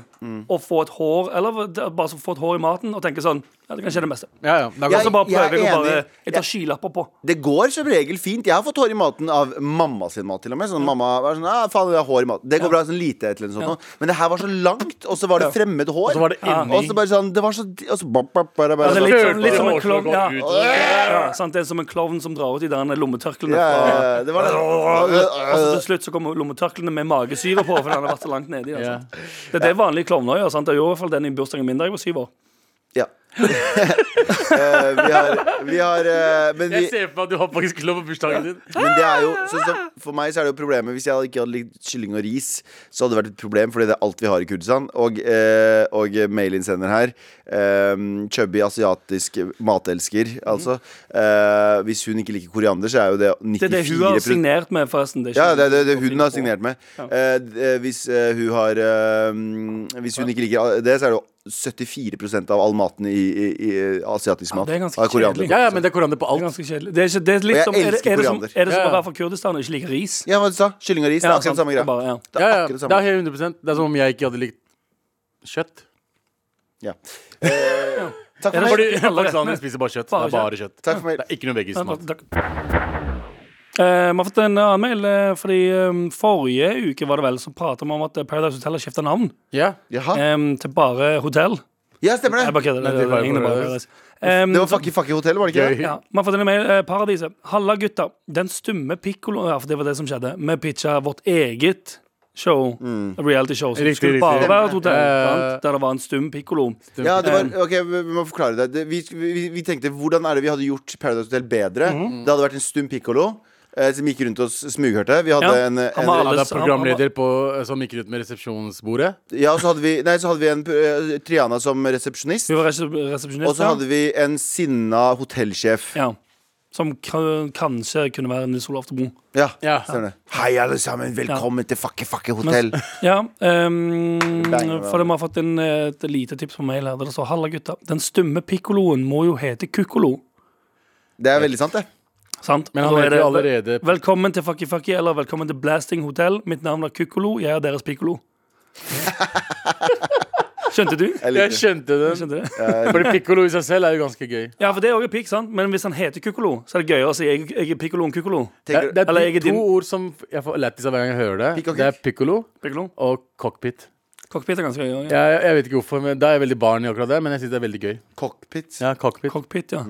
D: og få et hår Eller bare så få et hår i maten og tenke sånn ja, Det kan skje det meste.
C: Ja, ja. Da går
D: Og så bare
B: Jeg er
D: prøver jeg å bare
B: enig.
D: Jeg tar skylapper på.
B: Det går som regel fint. Jeg har fått hår i maten av mamma sin mat. til og med Sånn Mamma var sånn, ah, faen, jeg har hår i maten Det går bra. sånn lite et eller annet sånt noe. Men det her var så langt, og så var det fremmed hår.
C: Og så var det inni.
B: Og så bare sånn Det var så og så, bap, bap, bare, bare,
D: Ja, det er
B: sånn.
D: litt,
C: Følte
D: sånn, litt
C: det
D: som en
C: var så
D: klovn. Ja.
C: godt ut.
D: Ja, sant? Det er som en klovn som drar ut de der lommetørklene.
B: ja, ja,
D: fra-
B: ja, det var
D: Og så til
B: det.
D: slutt så kommer lommetørklene med magesyre på, fordi han har vært så langt nedi.
C: Ja.
D: sant? Det er det vanlige klovner gjør. sant? Det gjorde i hvert fall den i bursdagen min da jeg var syv år.
B: Ja. Eh, vi har, vi har eh, men, vi,
C: Jeg ser for meg at du har faktisk klov på bursdagen din.
B: men det er jo sånn som, For meg så er det jo problemet Hvis jeg ikke hadde likt kylling og ris, så hadde det vært et problem, fordi det er alt vi har i Kurdistan. Og, eh, og mail-innsender her, eh, chubby asiatisk matelsker, altså eh, Hvis hun ikke liker koriander, så er jo det 94
D: Det er det hun har signert med, forresten. Det er ikke-
B: Ja, det er det, det hun har signert med. Eh, d- eh, hvis eh, hun har eh, mm, Hvis hun ikke liker det, så er det jo 74 av all maten i, i, i asiatisk mat.
D: det er ganske
B: av koriander.
D: kjedelig.
C: Ja, ja, men det er koriander på
D: Det er
C: alt.
D: ganske kjedelig. Det er, ikke, det er
B: Og jeg
D: litt som, er det,
B: elsker
D: er det som,
B: koriander.
D: er det som
C: Ja,
D: å
C: ja.
D: være fra Kurdistan og ikke like ris?
B: Ja, hva du sa? Kylling og ris. det
D: Ja,
B: er akkurat
D: sant.
B: samme greia.
D: Det er bare- ja.
B: Det
C: Ja,
B: er
C: ja.
B: akkurat det
C: Det
B: samme.
C: er helt 100 Det er som om jeg ikke hadde likt kjøtt.
B: Ja. Eh, takk for meg.
C: Fordi pakistanere spiser bare kjøtt. Det
D: Bare
C: er bare kjøtt.
B: Takk for meg.
C: Det er ikke noe veggis mat.
D: Takk. Eh, vi har fått en annen mail, eh, fordi eh, forrige uke var det vel som pratet vi om at eh, Paradise Hotel har skifta navn
C: Ja.
B: Jaha.
D: eh, til bare hotell.
B: Ja, stemmer
D: Jeg
B: det.
D: bare kødder.
C: Eh. Nei, det var jo
D: Ingen er bare
C: Paradise.
D: Paradise. Um,
B: Det var Fucky Fucky Hotell, var det ikke det?
D: ja, Vi har fått en mail. Eh, Paradiset. Halla, gutta. Den stumme pikkolo Ja, for det var det som skjedde. Vi pitcha vårt eget show. Reality show som
C: Mm. Riktig, riktig.
D: skulle bare være et hotell,
C: Eh,
D: sant? der det var en stum pikkolo.
B: Ja, det var, ok, vi vi må forklare det. det vi, vi, vi tenkte hvordan er det vi hadde gjort Paradise Hotel bedre?
D: Mhm.
B: Det hadde vært en stum pikkolo eh, som gikk rundt og s- smughørte. Vi hadde
D: Ja.
B: en,
D: Han
B: en
D: var
C: Ja, det
D: alle-
C: er programleder på, eh, som gikk ut med resepsjonsbordet.
B: Ja, og så hadde vi, nei, så hadde vi en eh, Triana som resepsjonist.
D: Hun var resep-
B: Og
D: resepsjonist,
B: så
D: ja.
B: hadde vi en sinna hotellsjef.
D: ja. Som k kanskje kunne være Nils Olav Tebro.
B: Ja,
C: Ja.
B: stemmer det. Hei, alle sammen. Velkommen til Fucky Fucky Hotell.
D: Ja, ehm,
B: Bang,
D: for vi har fått en, eh, et lite tips på mail her. Der det står 'Halla, gutta. Den stumme pikkoloen må jo hete Kukkolo'.
B: Det er veldig sant, det.
D: Sant?
C: Men
D: Og
C: han
D: da er
C: heter
D: det-
C: jo allerede
D: Velkommen til Fucky Fucky, eller velkommen til Blasting Hotel. Mitt navn er Kukkolo, jeg er deres pikkolo. Skjønte du?
B: Jeg
C: Jeg
B: liker det.
C: skjønte den.
D: Skjønte det?
C: Fordi pikkolo i seg selv er jo ganske gøy.
D: Ja, for det er også pikk, sant? Men hvis han heter Kukkolo, så er det gøyere å si jeg, jeg er pikkolo enn Kukkolo.
C: Det er,
B: Tenker,
C: det er
D: Eller jeg er
C: to
D: din-
C: ord som jeg får lættis av hver gang jeg hører
B: Pikk
C: det.
B: og
C: Det er pikkolo
D: Pikkolo.
C: og cockpit.
D: Cockpit er ganske gøy. Ja.
C: Jeg, jeg vet ikke hvorfor, men Da er jeg veldig barn i akkurat det, men jeg syns det er veldig gøy.
B: cockpit.
C: Ja, cockpit.
D: Cockpit, ja.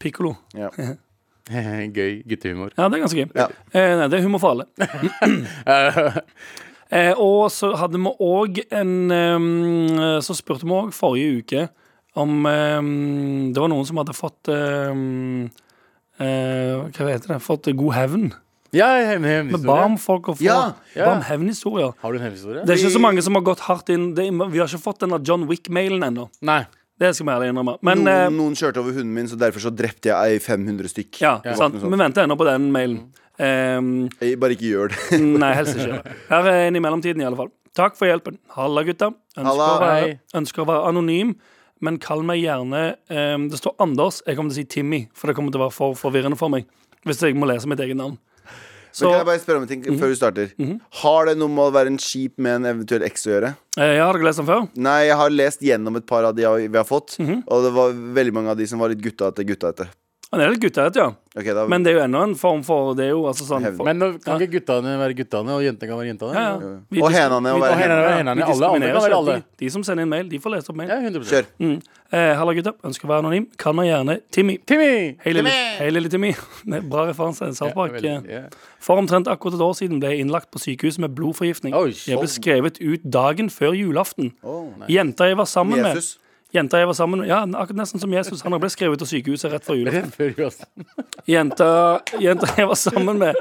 D: Pikkolo.
B: Ja.
C: gøy guttehumor.
D: Ja, det er ganske gøy.
B: Ja.
D: Eh, nei, det er humor for alle. Eh, og så hadde vi òg en ehm, Så spurte vi òg forrige uke om ehm, Det var noen som hadde fått ehm, eh, Hva heter det? Fått god hevn.
C: Ja, jeg har en
D: Vi ba om
C: hevnhistorie.
D: folk å få
B: Ja,
C: ja.
D: ba om hevnhistorier.
C: Har du en hevnhistorie?
D: Det er ikke så mange som har gått hardt inn. Det, er- vi har ikke fått denne John Wick-mailen ennå.
C: Nei.
D: Det skal vi ærlig innrømme. Men eh,
B: Noen, noen kjørte over hunden min, så derfor så drepte jeg ei 500 stykk.
D: ja,
B: Det var
D: sant.
B: ikke
D: Vi
B: noe sånt.
D: venter ennå på den mailen. Ehm,
B: Jeg bare ikke gjør det.
D: Nei, helst ikke. Her er en i mellomtiden, i alle fall. Takk for hjelpen. Halla, gutta. Ønsker,
B: Halla,
D: å, være,
C: hei.
D: ønsker å være anonym, men kall meg gjerne ehm, Det står Anders. Jeg kommer til å si Timmy, for det kommer til å være for forvirrende for meg. Hvis jeg må lese mitt eget navn.
B: Så
D: Så
B: kan jeg bare spørre om en ting før du starter. Har det noe med å være en skip med en eventuell eks å gjøre?
D: eh, ja, har dere lest den før?
B: Nei, jeg har lest gjennom et par av de jeg- vi har fått, og det var veldig mange av de som var litt gutta etter gutta etter.
D: Han er litt guttete, ja.
B: Ok, da
D: Men det er jo ennå en form for Det er jo altså sånn
B: Hevn.
D: for,
C: Men nå kan ikke guttene være guttene, og jentene kan være jentene?
D: ja, ja. Vi
B: Og
D: disk-
B: henene å
D: vi-
B: være
D: og
B: henne.
C: henene. Henene.
D: ja, vi
C: Alle andre kan
D: diskriminerer
C: være
D: ikke.
C: alle.
D: De, de som sender inn mail, de får lest opp mail.
C: Ja, 100
B: Kjør.
D: Eh, Halla, gutter. Ønsker å være anonym. Kall meg gjerne Timmy.
C: Timmy!
D: Hei, lille, hei, lille Timmy. Det er Bra referanse. South Park.
C: veldig, ja.
D: eh. For omtrent akkurat et år siden ble jeg innlagt på sykehus med blodforgiftning.
C: Oi, sånn.
D: jeg ble skrevet ut dagen før julaften.
B: Å, nei.
D: Jenta jeg var sammen med
B: Jesus.
D: Jenta jeg var sammen med Ja, akkurat nesten som Jesus. Han ble skrevet ut av sykehuset rett før jul.
C: Rett før julaften.
D: Jenta, jenta jeg var sammen med,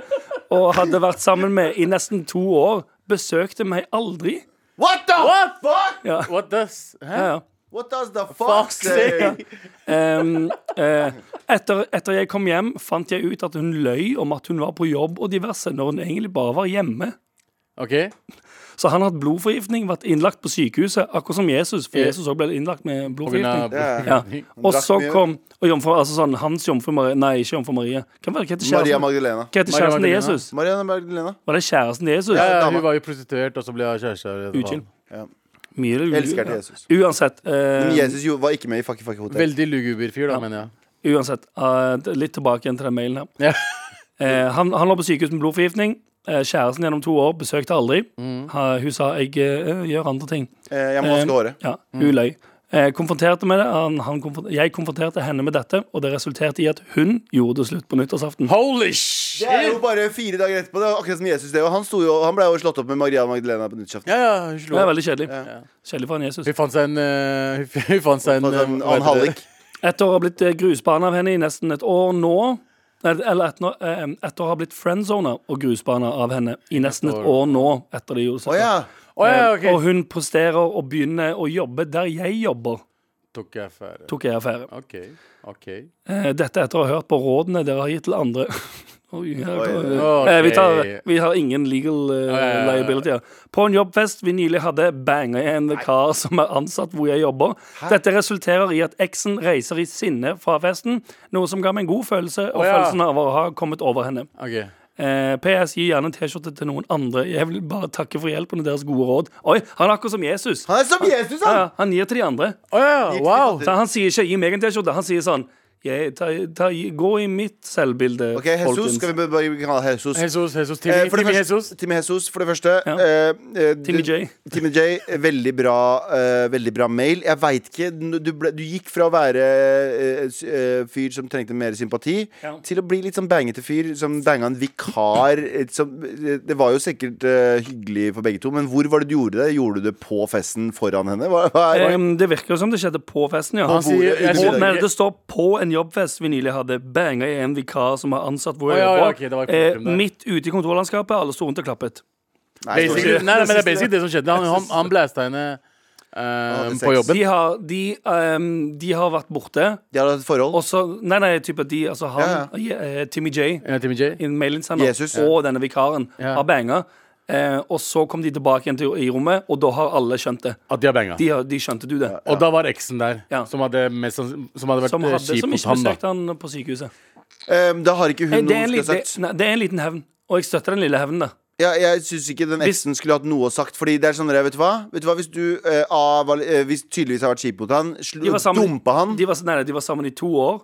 D: og hadde vært sammen med i nesten to år, besøkte meg aldri.
B: What the fuck?
D: Ja,
C: What does Hæ?
D: ja, ja.
B: What does the fuck say?
D: Ehm, eh, etter, etter jeg kom hjem, fant jeg ut at hun løy om at hun var på jobb og diverse, når hun egentlig bare var hjemme.
C: OK?
D: Så han har hatt blodforgiftning, vært innlagt på sykehuset, akkurat som Jesus. For
C: Ja.
D: Jesus også ble innlagt med
C: På grunn av
D: blodforgiftning.
B: Ja.
D: Ja. Og
B: drakk
D: så
B: mye.
D: kom og jomfru, altså sånn, hans jomfru Maria Nei, ikke jomfru Maria. Hvem var det? Hva heter
B: Maria
D: kjæresten,
B: Magdalena.
D: Hva heter
C: Maria
D: kjæresten til
C: Magdalena.
D: Jesus?
B: Maria Magdalena.
D: Var det kjæresten til Jesus?
C: ja, ja,
B: dama.
C: Hun var jo prostituert, og så ble hun kjæreste. eller hva faen.
D: Utkild.
B: Ja.
D: Mye luguber.
B: Elsker til Jesus.
D: Uansett. eh,
B: Men Jesus jo, var ikke med i Fucky Fucky Hotel.
C: Veldig luguber fyr, da, mener jeg.
D: uansett eh, litt tilbake igjen til den mailen her.
C: Ja.
D: Eh, han, han lå på sykehus med blodforgiftning. Eh, kjæresten gjennom to år besøkte aldri. Ha- hun sa 'jeg eh, gjør andre ting'.
B: Eh, jeg må
D: Eh,
B: vaske håret.
D: Ja, hun løy. Eh, konfronterte med det, han, han konfron- Jeg konfronterte henne med dette, og det resulterte i at hun gjorde det slutt på nyttårsaften.
C: Holy
B: Det er jo
C: shit!
B: bare fire dager etterpå. Det var akkurat som Jesus. Det, og han, sto jo, han ble jo slått opp med Maria Magdalena på nyttårsaften.
C: Ja, ja, hun
D: Det
C: slo
D: er
C: opp.
D: veldig kjedelig. Kjedelig for han Jesus.
C: Hun fant seg en eh, Hun hun fant seg en,
B: På
C: eh,
B: en
C: hva
B: annen
C: heter det?
B: hallik.
D: Et år har blitt eh, grusbane av henne i nesten et år nå. Nei, Eller et, nå- eh, et år har blitt friendzona og grusbane av henne i nesten et
C: år.
D: år nå. etter de gjorde
B: Å
D: dette.
B: ja.
C: Å ja,
D: Eh, Og
C: OK.
D: hun presterer og begynner å jobbe der jeg jobber,
C: Tok jeg affære.
D: tok jeg affære.
C: OK. OK.
D: Eh, Dette etter å ha hørt på rådene dere har gitt til andre. Oi, her kommer det.
C: Ok.
D: Eh, vi, tar, vi har ingen legal eh,
C: ja, ja, ja.
D: liability her. På en jobbfest vi nylig hadde, banga jeg en vikar som er ansatt hvor jeg jobber. Dette resulterer i at eksen reiser i sinne fra festen, noe som ga meg en god følelse, og
C: Å, ja.
D: følelsen av å ha kommet over henne.
C: ok
D: Eh, PS, gi gjerne en T-skjorte til noen andre. Jeg vil bare takke for hjelpen og deres gode råd. Oi, han er akkurat som Jesus.
B: Han er som Jesus,
D: Ja,
B: han!
D: ja, han gir til de andre.
C: Å ja, wow!
D: Så han sier ikke 'gi meg en T-skjorte', han sier sånn jeg, ta, ta, Gå i mitt selvbilde,
B: Ok, Jesus.
D: folkens.
B: Skal vi bare- bare kalle han Jesus?
C: Jesus, Jesus, Timmy,
B: Eh, for det
C: Timmy
B: første-
C: Jesus.
B: Timmy Jesus, for det første.
D: Ja.
B: Eh, eh, du-
D: Timmy J.
B: Timmy J, Veldig bra, eh, veldig bra mail. Jeg veit ikke. Du, ble, du gikk fra å være eh, s- eh, fyr som trengte mer sympati,
D: Ja.
B: til å bli litt sånn bangete fyr som banga en vikar. eh, Som, eh, det var jo sikkert eh, hyggelig for begge to, men hvor var det du gjorde det? Gjorde du det på festen foran henne? Hva, hva
C: Eh,
B: er,
D: Em, det virker jo som det skjedde på festen, ja.
B: På bordet,
D: På,
C: sier- jeg
B: under
C: sier-
B: middagen.
D: men det står 'på en jobbfest vi nylig hadde'. Banga i en vikar som var ansatt
C: Å,
D: hvor jeg
C: ja, ja,
D: jobber.
C: ok, det var et
D: eh,
C: problem der.
D: midt ute i kontorlandskapet, alle sto rundt og klappet.
B: Nei, jeg står
C: Basically,
B: ikke.
C: nei, nei, men det er basically det som skjedde. Han, han, han blæsta henne eh,
B: hadde
C: på
B: sex.
C: jobben.
D: De har, de, em, de har vært borte,
B: De hadde et forhold.
D: og så Nei, nei, type de, altså han, eh, Timmy J,
C: Ja, Timmy J.
D: i en mailinnsender
B: Jesus.
D: og denne vikaren
C: Ja.
D: har banga. Eh, og så kom de tilbake igjen til i rommet, og da har alle skjønt det.
C: At de har banga.
D: De, har- de skjønte du det.
C: Og da var eksen der,
D: Ja.
C: som, hadde mest, sanns- som hadde vært
D: Som,
C: eh,
D: hadde,
C: kjip
D: som
C: mot
D: ikke
C: ham. da
D: besøkte han på sykehuset.
B: Eh, da har ikke
D: Eh,
B: hun
D: det, er
B: noe
D: en
B: hun
D: liten,
B: skulle ha
D: det,
B: sagt.
D: nei, det er en liten hevn, og jeg støtter den lille hevnen. da
B: Ja, jeg syns ikke den
D: Hvis-
B: eksen skulle hatt noe å sagt. Fordi det er sånn, vet du hva? Vet du hva? Hvis du eh, A, var, eh, hvis tydeligvis har vært kjip mot han,
D: De
B: slu,
D: var sammen-
B: dumpa han
D: De var, nei, nei, de var sammen i to år.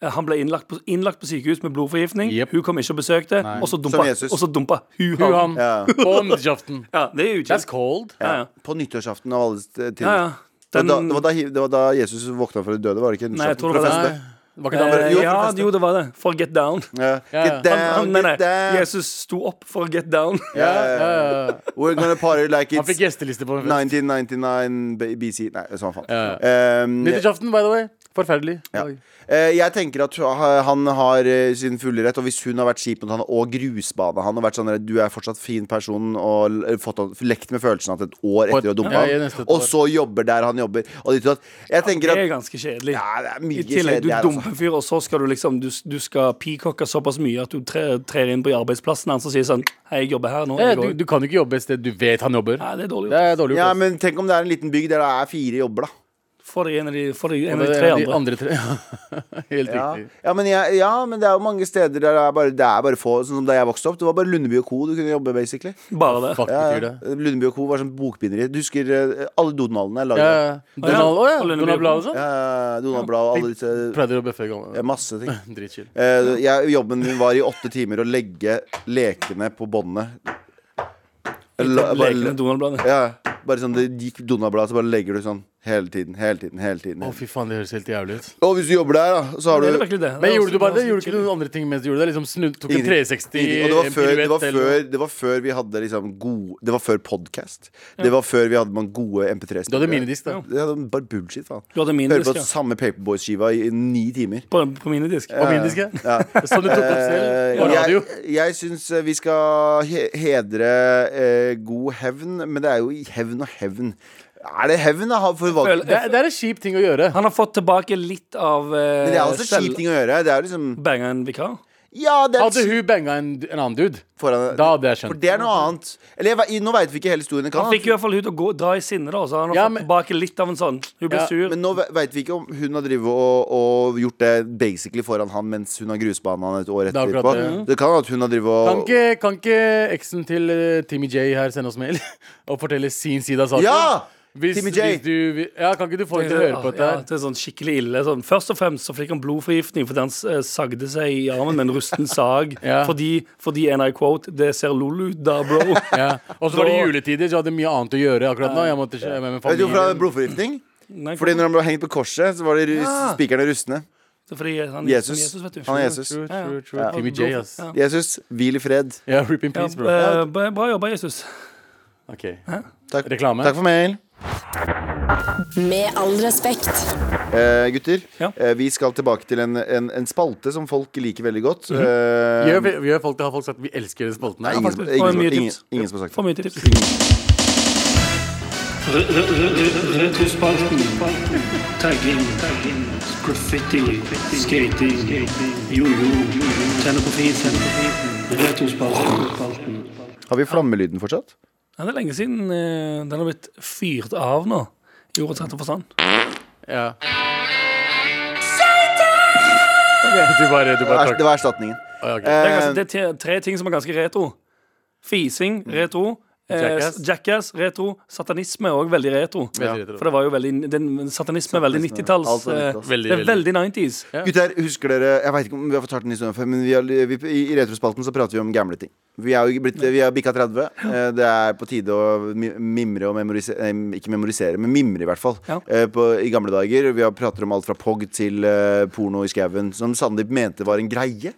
D: Eh, Han ble innlagt på, innlagt på sykehus med blodforgiftning.
C: Jep.
D: Hun kom ikke og besøkte, og så dumpa,
B: Som Jesus.
D: og så dumpa hun
C: Hun,
D: ham.
C: han, på nyttårsaften.
D: Ja, det er jo
C: That's
D: ikke
C: cold.
D: ja, ja.
B: på nyttårsaften av alle st- tider.
D: ja, ja.
B: Det var
D: Den,
B: da, det, var da, hi- det var da Jesus våkna fra de døde, var det ikke?
D: Nei, jeg tror det var
B: Nyttårsaften?
C: Nei, var ikke det han
D: eh,
B: Jo,
D: ja,
B: for det første.
D: jo, det var det. For get down.
B: Ja.
C: Ja, ja.
B: Get down,
D: Han, han, nei,
B: get
D: nei.
B: down.
D: Jesus sto opp for å get down.
B: Ja, ja,
C: Ja,
B: ja.
C: ja, ja.
B: We're gonna party like
C: Han fikk
B: it's
C: gjesteliste på en fest.
B: 1999 B- BC Nei, sånn faen.
C: Ja,
B: Um,
C: Nyttårsaften, by the way. Forferdelig.
B: Ja.
C: Oi.
B: Eh, Jeg tenker at ha- han har eh, sin fulle rett, og hvis hun har vært kjip mot han og grusbana han og vært sånn du er fortsatt fin person og l- eh, fått, han- lekt med følelsen at et år
C: Og et-
B: etter å dumpe
C: ja, i
B: han,
C: neste et
B: og
C: år.
B: så jobber der han jobber og ditt og datt. Jeg tenker
D: Det er
B: at
D: ganske kjedelig.
B: ja, det er mye
D: I tillegg, du
B: kjedelig her, altså.
D: dumper fyr, og så skal du liksom Du, du skal peacocke såpass mye at du tre, trer inn på arbeidsplassen hans og sier sånn Hei, jeg jobber her nå.
C: Ja,
D: Jeg
C: Eh, du,
D: går.
C: du kan ikke jobbe et sted du vet han jobber.
D: Nei, det er dårlig
C: Det
D: gjort.
C: er dårlig
B: Ja,
C: gjort.
B: men tenk om det er en liten bygd der det er fire jobber, da.
D: Få deg en av de, få deg
C: ass.
D: en av
C: Det
D: de
C: er
D: tre
C: de
D: andre.
C: andre tre. Helt
B: Ja,
C: riktig.
B: ja, men, jeg, ja men det er jo mange steder der det er bare, det er bare få. Sånn som da jeg vokste opp, det var bare Lundeby og co. du kunne jobbe, basically.
D: Bare det.
C: Fuck,
B: Ja,
C: betyr
B: ja.
C: det.
B: Lundeby og co. var sånn bokbinderi. Du husker eh, alle Donaldene er laget
C: Ja,
B: av
C: ja. Donald, å, ja.
D: Og Lundeby.
C: Donald Blad og sånn.
B: Ja, ja, Donald-blad og alle disse
C: Pleide å bøffe i gamle
B: ja, Masse ting.
C: Dritchill.
B: Eh, jeg, jobben min var i åtte timer å legge lekene på båndet. La- bare-
D: Lekene Donald-bladet.
B: Ja, bare sånn, det gikk Donald-blad, så bare legger du sånn hele tiden. Hele tiden, hele tiden.
C: Å, fy faen, det høres helt jævlig ut.
B: Og hvis du jobber der, da, så har
D: Det er
B: du
D: virkelig det.
C: Men gjorde du bare det?
D: er
C: Gjorde du
D: også-
C: ikke noen andre ting mens du gjorde det? Liksom snu, tok en
B: Ingenting.
C: 360
B: Ingenting. Og det var
C: en
B: før, det var
C: piruett eller noe?
B: før, det var før vi hadde liksom gode Det var før podcast. Det var før vi hadde man gode MP3-spillere.
C: Du hadde minidisk, da.
B: Det hadde bare bullshit, faen.
D: Du hadde min
B: Hører
D: disk,
B: på
D: ja.
B: samme Paperboys-skiva i ni timer.
D: På, på mine disk.
C: Og min disk, ja.
B: Eh, Ja.
C: Sånn du tok opp selv? På
B: Eh,
C: radio?
B: jeg jeg syns eh, vi skal he hedre eh, god hevn, men det er jo i hevn og hevn. Er det hevn, da? For hva?
D: Føl-
B: Men
C: Det er, det er en kjip ting å gjøre.
D: Han har fått tilbake litt av eh,
B: det er også en
D: selv
B: kjip ting å gjøre. Det er jo liksom
D: Banga en vikar.
B: Ja,
C: Hadde
B: den
C: hun banga en, en annen dude
B: foran
C: Da hadde jeg skjønt.
B: For det er noe annet. Eller jeg, ve- nå veit vi ikke hele historien. Kan
D: Han fikk i hvert fall hun til å gå, dra i sinne, da. Så han har
C: Ja,
D: fått
C: men-
D: tilbake litt av en sånn Hun ble
C: Ja,
D: sur.
B: Men nå ve- vet vi ikke om hun har drivet og, og gjort det basically foran han mens hun har grusbana han et år
C: Det er akkurat
B: etterpå.
C: det.
B: Det kan at hun har drivet og
C: Kan ikke, kan ikke eksen til eh, Timmy J her sende oss mail og fortelle sin side av saken?
B: Ja!
C: Hvis,
B: Timmy J.
C: Hvis du, ja, kan ikke du få henne til å høre på dette?
D: Ja,
C: her?
D: det er sånn skikkelig ille. Sånn. Først og fremst så fikk han blodforgiftning fordi han eh, sagde seg i armen med en rusten sag.
C: Ja.
D: fordi, fordi, and I quote, det ser lol ut da, bro.
C: Ja. Og så var det juletider, så jeg hadde mye annet å gjøre akkurat nå. Jeg måtte være med med
B: Vet du hvorfor han hadde
C: familien.
B: blodforgiftning?
D: Nei,
B: Fordi når han ble hengt på korset, så var det rus, spikerne rustne.
D: det er fordi han,
B: Jesus.
D: Jesus, vet du.
B: Han er Jesus.
C: True,
D: Ja, ja.
C: true, true. Timmy J, ass.
D: Ja.
B: Jesus, hvil i fred.
C: Ja, rip in
D: Ja,
C: peace, bro.
D: eh, bra- bra jobba, Jesus.
C: Ok.
B: Takk,
C: Reklame.
B: Takk for mail.
E: Med all respekt.
B: Eh, gutter,
D: Ja.
B: eh, vi skal tilbake til en, en, en spalte som folk liker veldig godt.
D: Mhm.
B: Eh,
C: Gjør, vi- gjør folk, har folk sagt vi elsker den spalten her?
B: ingen, som-
D: faktisk.
B: ingen,
D: Og
B: som-
D: mye
B: ingen,
D: tips.
B: ingen som har sagt
D: For mye tips.
G: Retrospalten. Tagging. Graffiti. Skating. Jojo. Tenner på fisen. Retrospalten.
B: Har vi flammelyden fortsatt?
D: Ja, det er lenge siden eh, den har blitt fyrt av nå. I ordets rette forstand.
C: Ja. Ok, Du bare,
B: Det var, det
C: du bare trakk.
B: var erstatningen.
C: Ah, ok.
D: Det er,
B: Eh, Mm.
D: ganske, det er te- tre ting som er ganske retro. Fising, retro. eh,
C: Jackass.
D: Jackass, retro. Satanisme er òg veldig retro.
C: Veldig retro.
D: For det var jo veldig den, Satanisme er veldig 90-talls.
B: Alt var
D: eh,
B: 90-talls.
C: Veldig,
D: Det er veldig 90s.
B: Gutter, husker dere Jeg vet ikke om vi har fortalt den historien før, men vi har, vi, i, i Retrospalten så prater vi om gamle ting. Vi er jo blitt, vi er bikka 30. Eh, Det er på tide å mi- mimre og memorisere eh, Ikke memorisere, men mimre, i hvert fall.
D: Ja.
B: Eh, På, I gamle dager. Vi har prater om alt fra POG til eh, porno i skauen, som Sandeep mente var en greie.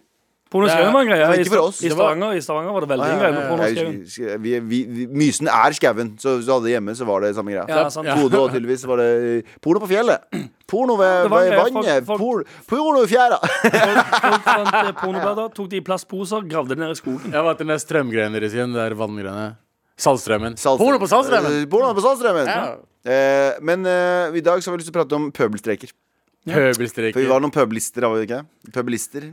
D: Pornoskauen var en greie.
B: men
D: I,
B: ikke for oss.
D: Sta- i,
B: Det
C: var-
D: Stavanger, I Stavanger var det veldig
B: Ah, ja,
D: en greie med
B: ja, ja. Jeg
D: pornoskauen.
B: husker- vi, vi, vi, mysen er skauen, så hvis du hadde det hjemme, så var det samme greia.
D: Ja, sant.
B: Bodø og tydeligvis var det eh, porno på fjellet. Porno ved,
D: Det var en
B: ved
D: greie, folk-
B: vannet.
D: folk-
B: Por, porno i fjæra.
D: Folk folk fant eh, pornoblader, tok de i plastposer, gravde det ned i skogen.
C: Jeg har vært den der strømgreiene deres igjen. Det er vanngreiene. Saltstrømmen.
B: Saltstrøm-
C: Porno på saltstrømmen!
B: Eh, Porno på Saltstrømmen.
C: Ja.
B: Eh, men eh, i dag så har vi lyst til å prate om pøbelstreker. For vi
C: Pøbelstreker.
B: var noen pøbelister, var vi ikke? Pøbelister.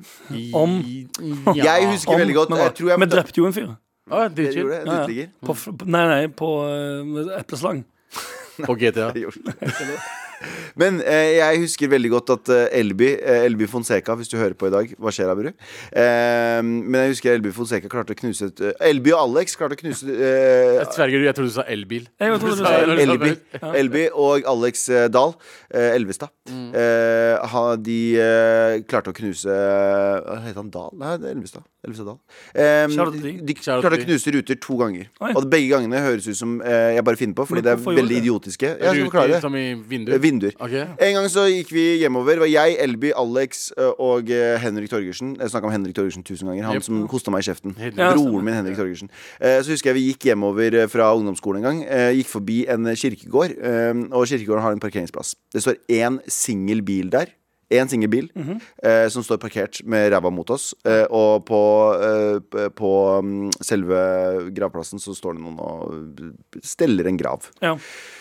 D: Om.
C: Ja.
B: Jeg husker veldig godt jeg tror jeg
D: Vi drepte jo en fyr.
C: Å,
B: Jeg gjorde
C: dritchill.
B: det, en
D: Ja, ja.
B: uteligger.
D: På, f- på- nei, nei, på eh, epleslang.
C: På GTA.
B: Jeg gjorde det. Men eh, jeg husker veldig godt at eh, Elby eh, Elby Fonseca, hvis du hører på i dag, hva skjer da, bror? Eh, men jeg husker Elby Fonseca klarte å knuse et eh, Elby og Alex klarte å knuse eh,
C: Jeg sverger, jeg trodde du sa elbil.
D: Jeg trodde du sa
C: Ja,
B: Elby, Elby og Alex eh, Dahl, eh, Elvestad.
D: Mm.
B: Eh, ha- de eh, klarte å knuse eh, Hva heter han Dahl? Nei, det er Elvestad. Elvestad Dahl. Eh,
D: Shout out til
B: de
D: de.
B: de
C: Shout out
B: klarte å
C: til de.
B: knuse ruter to ganger.
D: Oi.
B: Og begge gangene høres ut som eh, jeg bare finner på, fordi
D: Men
B: det er
D: hvorfor gjorde
B: veldig
D: du det?
B: idiotiske. Jeg skal forklare
C: Ruter
B: det.
C: som i
B: Eh,
C: vinduer.
B: Vinduer.
C: Ok.
B: En gang så gikk vi hjemover. Det var jeg, Elby, Alex eh, og eh, Henrik Torgersen. Jeg snakka om Henrik Torgersen tusen ganger. Han
C: Jep.
B: som hosta meg i kjeften.
C: Helt
D: Ja,
B: Broren min, Henrik Torgersen. Eh, Så husker jeg vi gikk hjemover eh, fra ungdomsskolen en gang. eh, Gikk forbi en eh, kirkegård, eh, og kirkegården har en parkeringsplass. Det står én singel bil der. Én singel bil eh, som står parkert med ræva mot oss. eh, og på, eh, p- på mm, selve gravplassen så står det noen og eh, steller en grav.
D: Ja.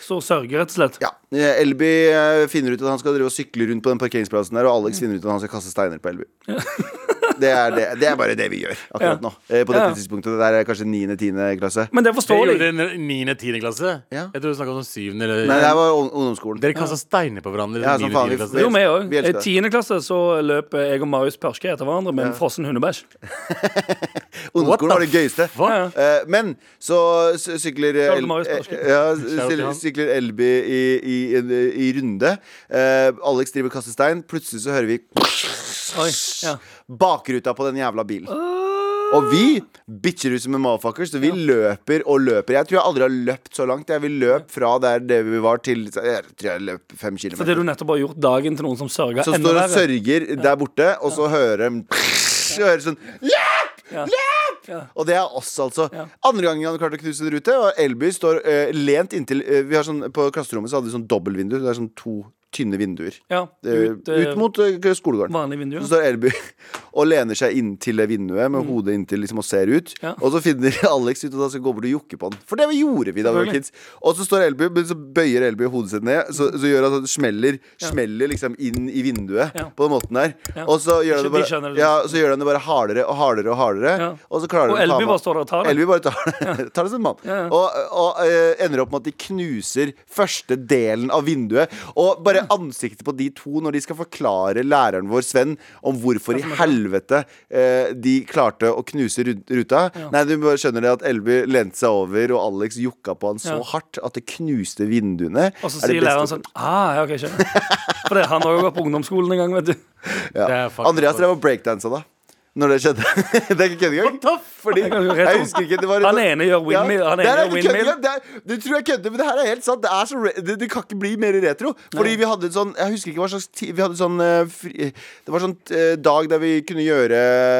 D: Så sørger, rett og slett.
B: Ja, eh, Elby eh, finner ut at han skal drive og sykle rundt på den parkeringsplassen der, og
D: Mm.
B: Alex finner ut at han skal kaste steiner på Elby. Det er, det, det er bare det vi gjør akkurat
D: Ja.
B: nå. eh, På dette
D: Ja.
B: tidspunktet. Det der er kanskje 9.-10. klasse.
D: Men det
C: Det
D: forstår
C: gjorde
D: de.
C: dere i 9. 10. klasse.
B: Ja.
C: Jeg tror du snakka om 7. eller
B: Nei, det her var ung- ungdomsskolen.
C: Dere kasta steiner på hverandre.
B: Ja,
C: Ja,
B: som
C: 9.
B: faen, vi-
C: 10. klasse.
B: vi-
D: Jo, vi òg.
B: elsker
D: I
B: det.
D: tiende klasse så løp jeg og Marius Pørske etter hverandre med en frossen hundebæsj.
B: Ungdomsskolen var det gøyeste.
C: Hva?
D: Ja, ja.
B: Eh, Men så s- sykler eh,
D: Shout out til
B: El-
D: Marius
B: eh,
D: Barski.
B: ja,
C: out til
B: syl-
C: han.
B: Sykler Elby i, i, en- i runde. Eh, Alex driver og kaster stein. Plutselig så hører vi
D: Oi, ja.
B: bakruta på den jævla bilen. Og vi bitcher ut som en motherfucker, så vi løper og løper. Jeg tror jeg aldri har løpt så langt. Jeg vil løp fra der det vi var, til Jeg tror jeg løp fem
D: For det
B: kilometer.
D: du nettopp har gjort dagen til noen som sørger
B: Så står
D: enda
B: og
D: verre.
B: sørger der borte, og så hører de hører sånn Løp! Løp!
D: Ja.
B: Og det er oss, altså.
D: Ja.
B: Andre gangen han klarte å knuse en rute, og Elby står eh, lent inntil eh, Vi har sånn På klasserommet så hadde vi sånn dobbeltvindu. Det er sånn to tynne vinduer.
D: Ja,
B: Eh,
D: ut, eh,
B: ut mot eh, skolegården.
D: vanlige vinduer.
B: Så står Elby og lener seg inntil det vinduet med hodet inntil liksom og ser ut.
D: Mm. Ja.
B: Og så finner Alex ut at han skal gå bort og jukke på han. For det gjorde vi da vi var
D: Selvfølgelig.
B: kids. Og så står Elby, men så bøyer Elby hodet sitt ned, så, så gjør han sånn smeller, smeller liksom inn i vinduet
D: Ja.
B: på den måten der.
D: Ja.
B: Og så gjør, han
D: De
B: det bare,
D: skjønner det.
B: ja, så gjør han det bare hardere og hardere og hardere.
D: Ja.
B: Og så klarer
D: Og
B: han å ta
D: Elby
B: med-
D: bare står der og tar det.
B: Elby bare tar det, tar det som en mann.
D: Ja, ja.
B: Og, og eh, ender opp med at de knuser første delen av vinduet. Og bare ansiktet på de to når de skal forklare læreren vår, Sven, om hvorfor i helvete eh, de klarte å knuse ru- ruta. Nei, du bare skjønner det at Elby lente seg over, og Alex jukka på han så
D: Ja.
B: hardt at det knuste vinduene.
D: Og så
B: Er det
D: sier læreren
B: beste-
D: sånn ah, ja, ok, skjønner. For det, han har jo gått på ungdomsskolen en gang, vet du.
C: Det
B: ja.
C: er faktisk-
B: Andreas drev og breakdansa da. Når det skjedde. det er ikke kødd engang. Fordi,
D: Jeg kan ikke rett
B: jeg
D: om.
B: husker ikke, det var
D: Han ene gjør windmill, han
B: det her er
D: ene gjør
B: ikke kødd
D: windmill.
B: engang. Det er- Du tror jeg kødder, men det her er helt sant. Det, er så re det, det kan ikke bli mer retro. Fordi vi hadde en sånn Jeg husker ikke hva slags ti Vi hadde sånn eh, fri, Det var sånn eh, dag der vi kunne gjøre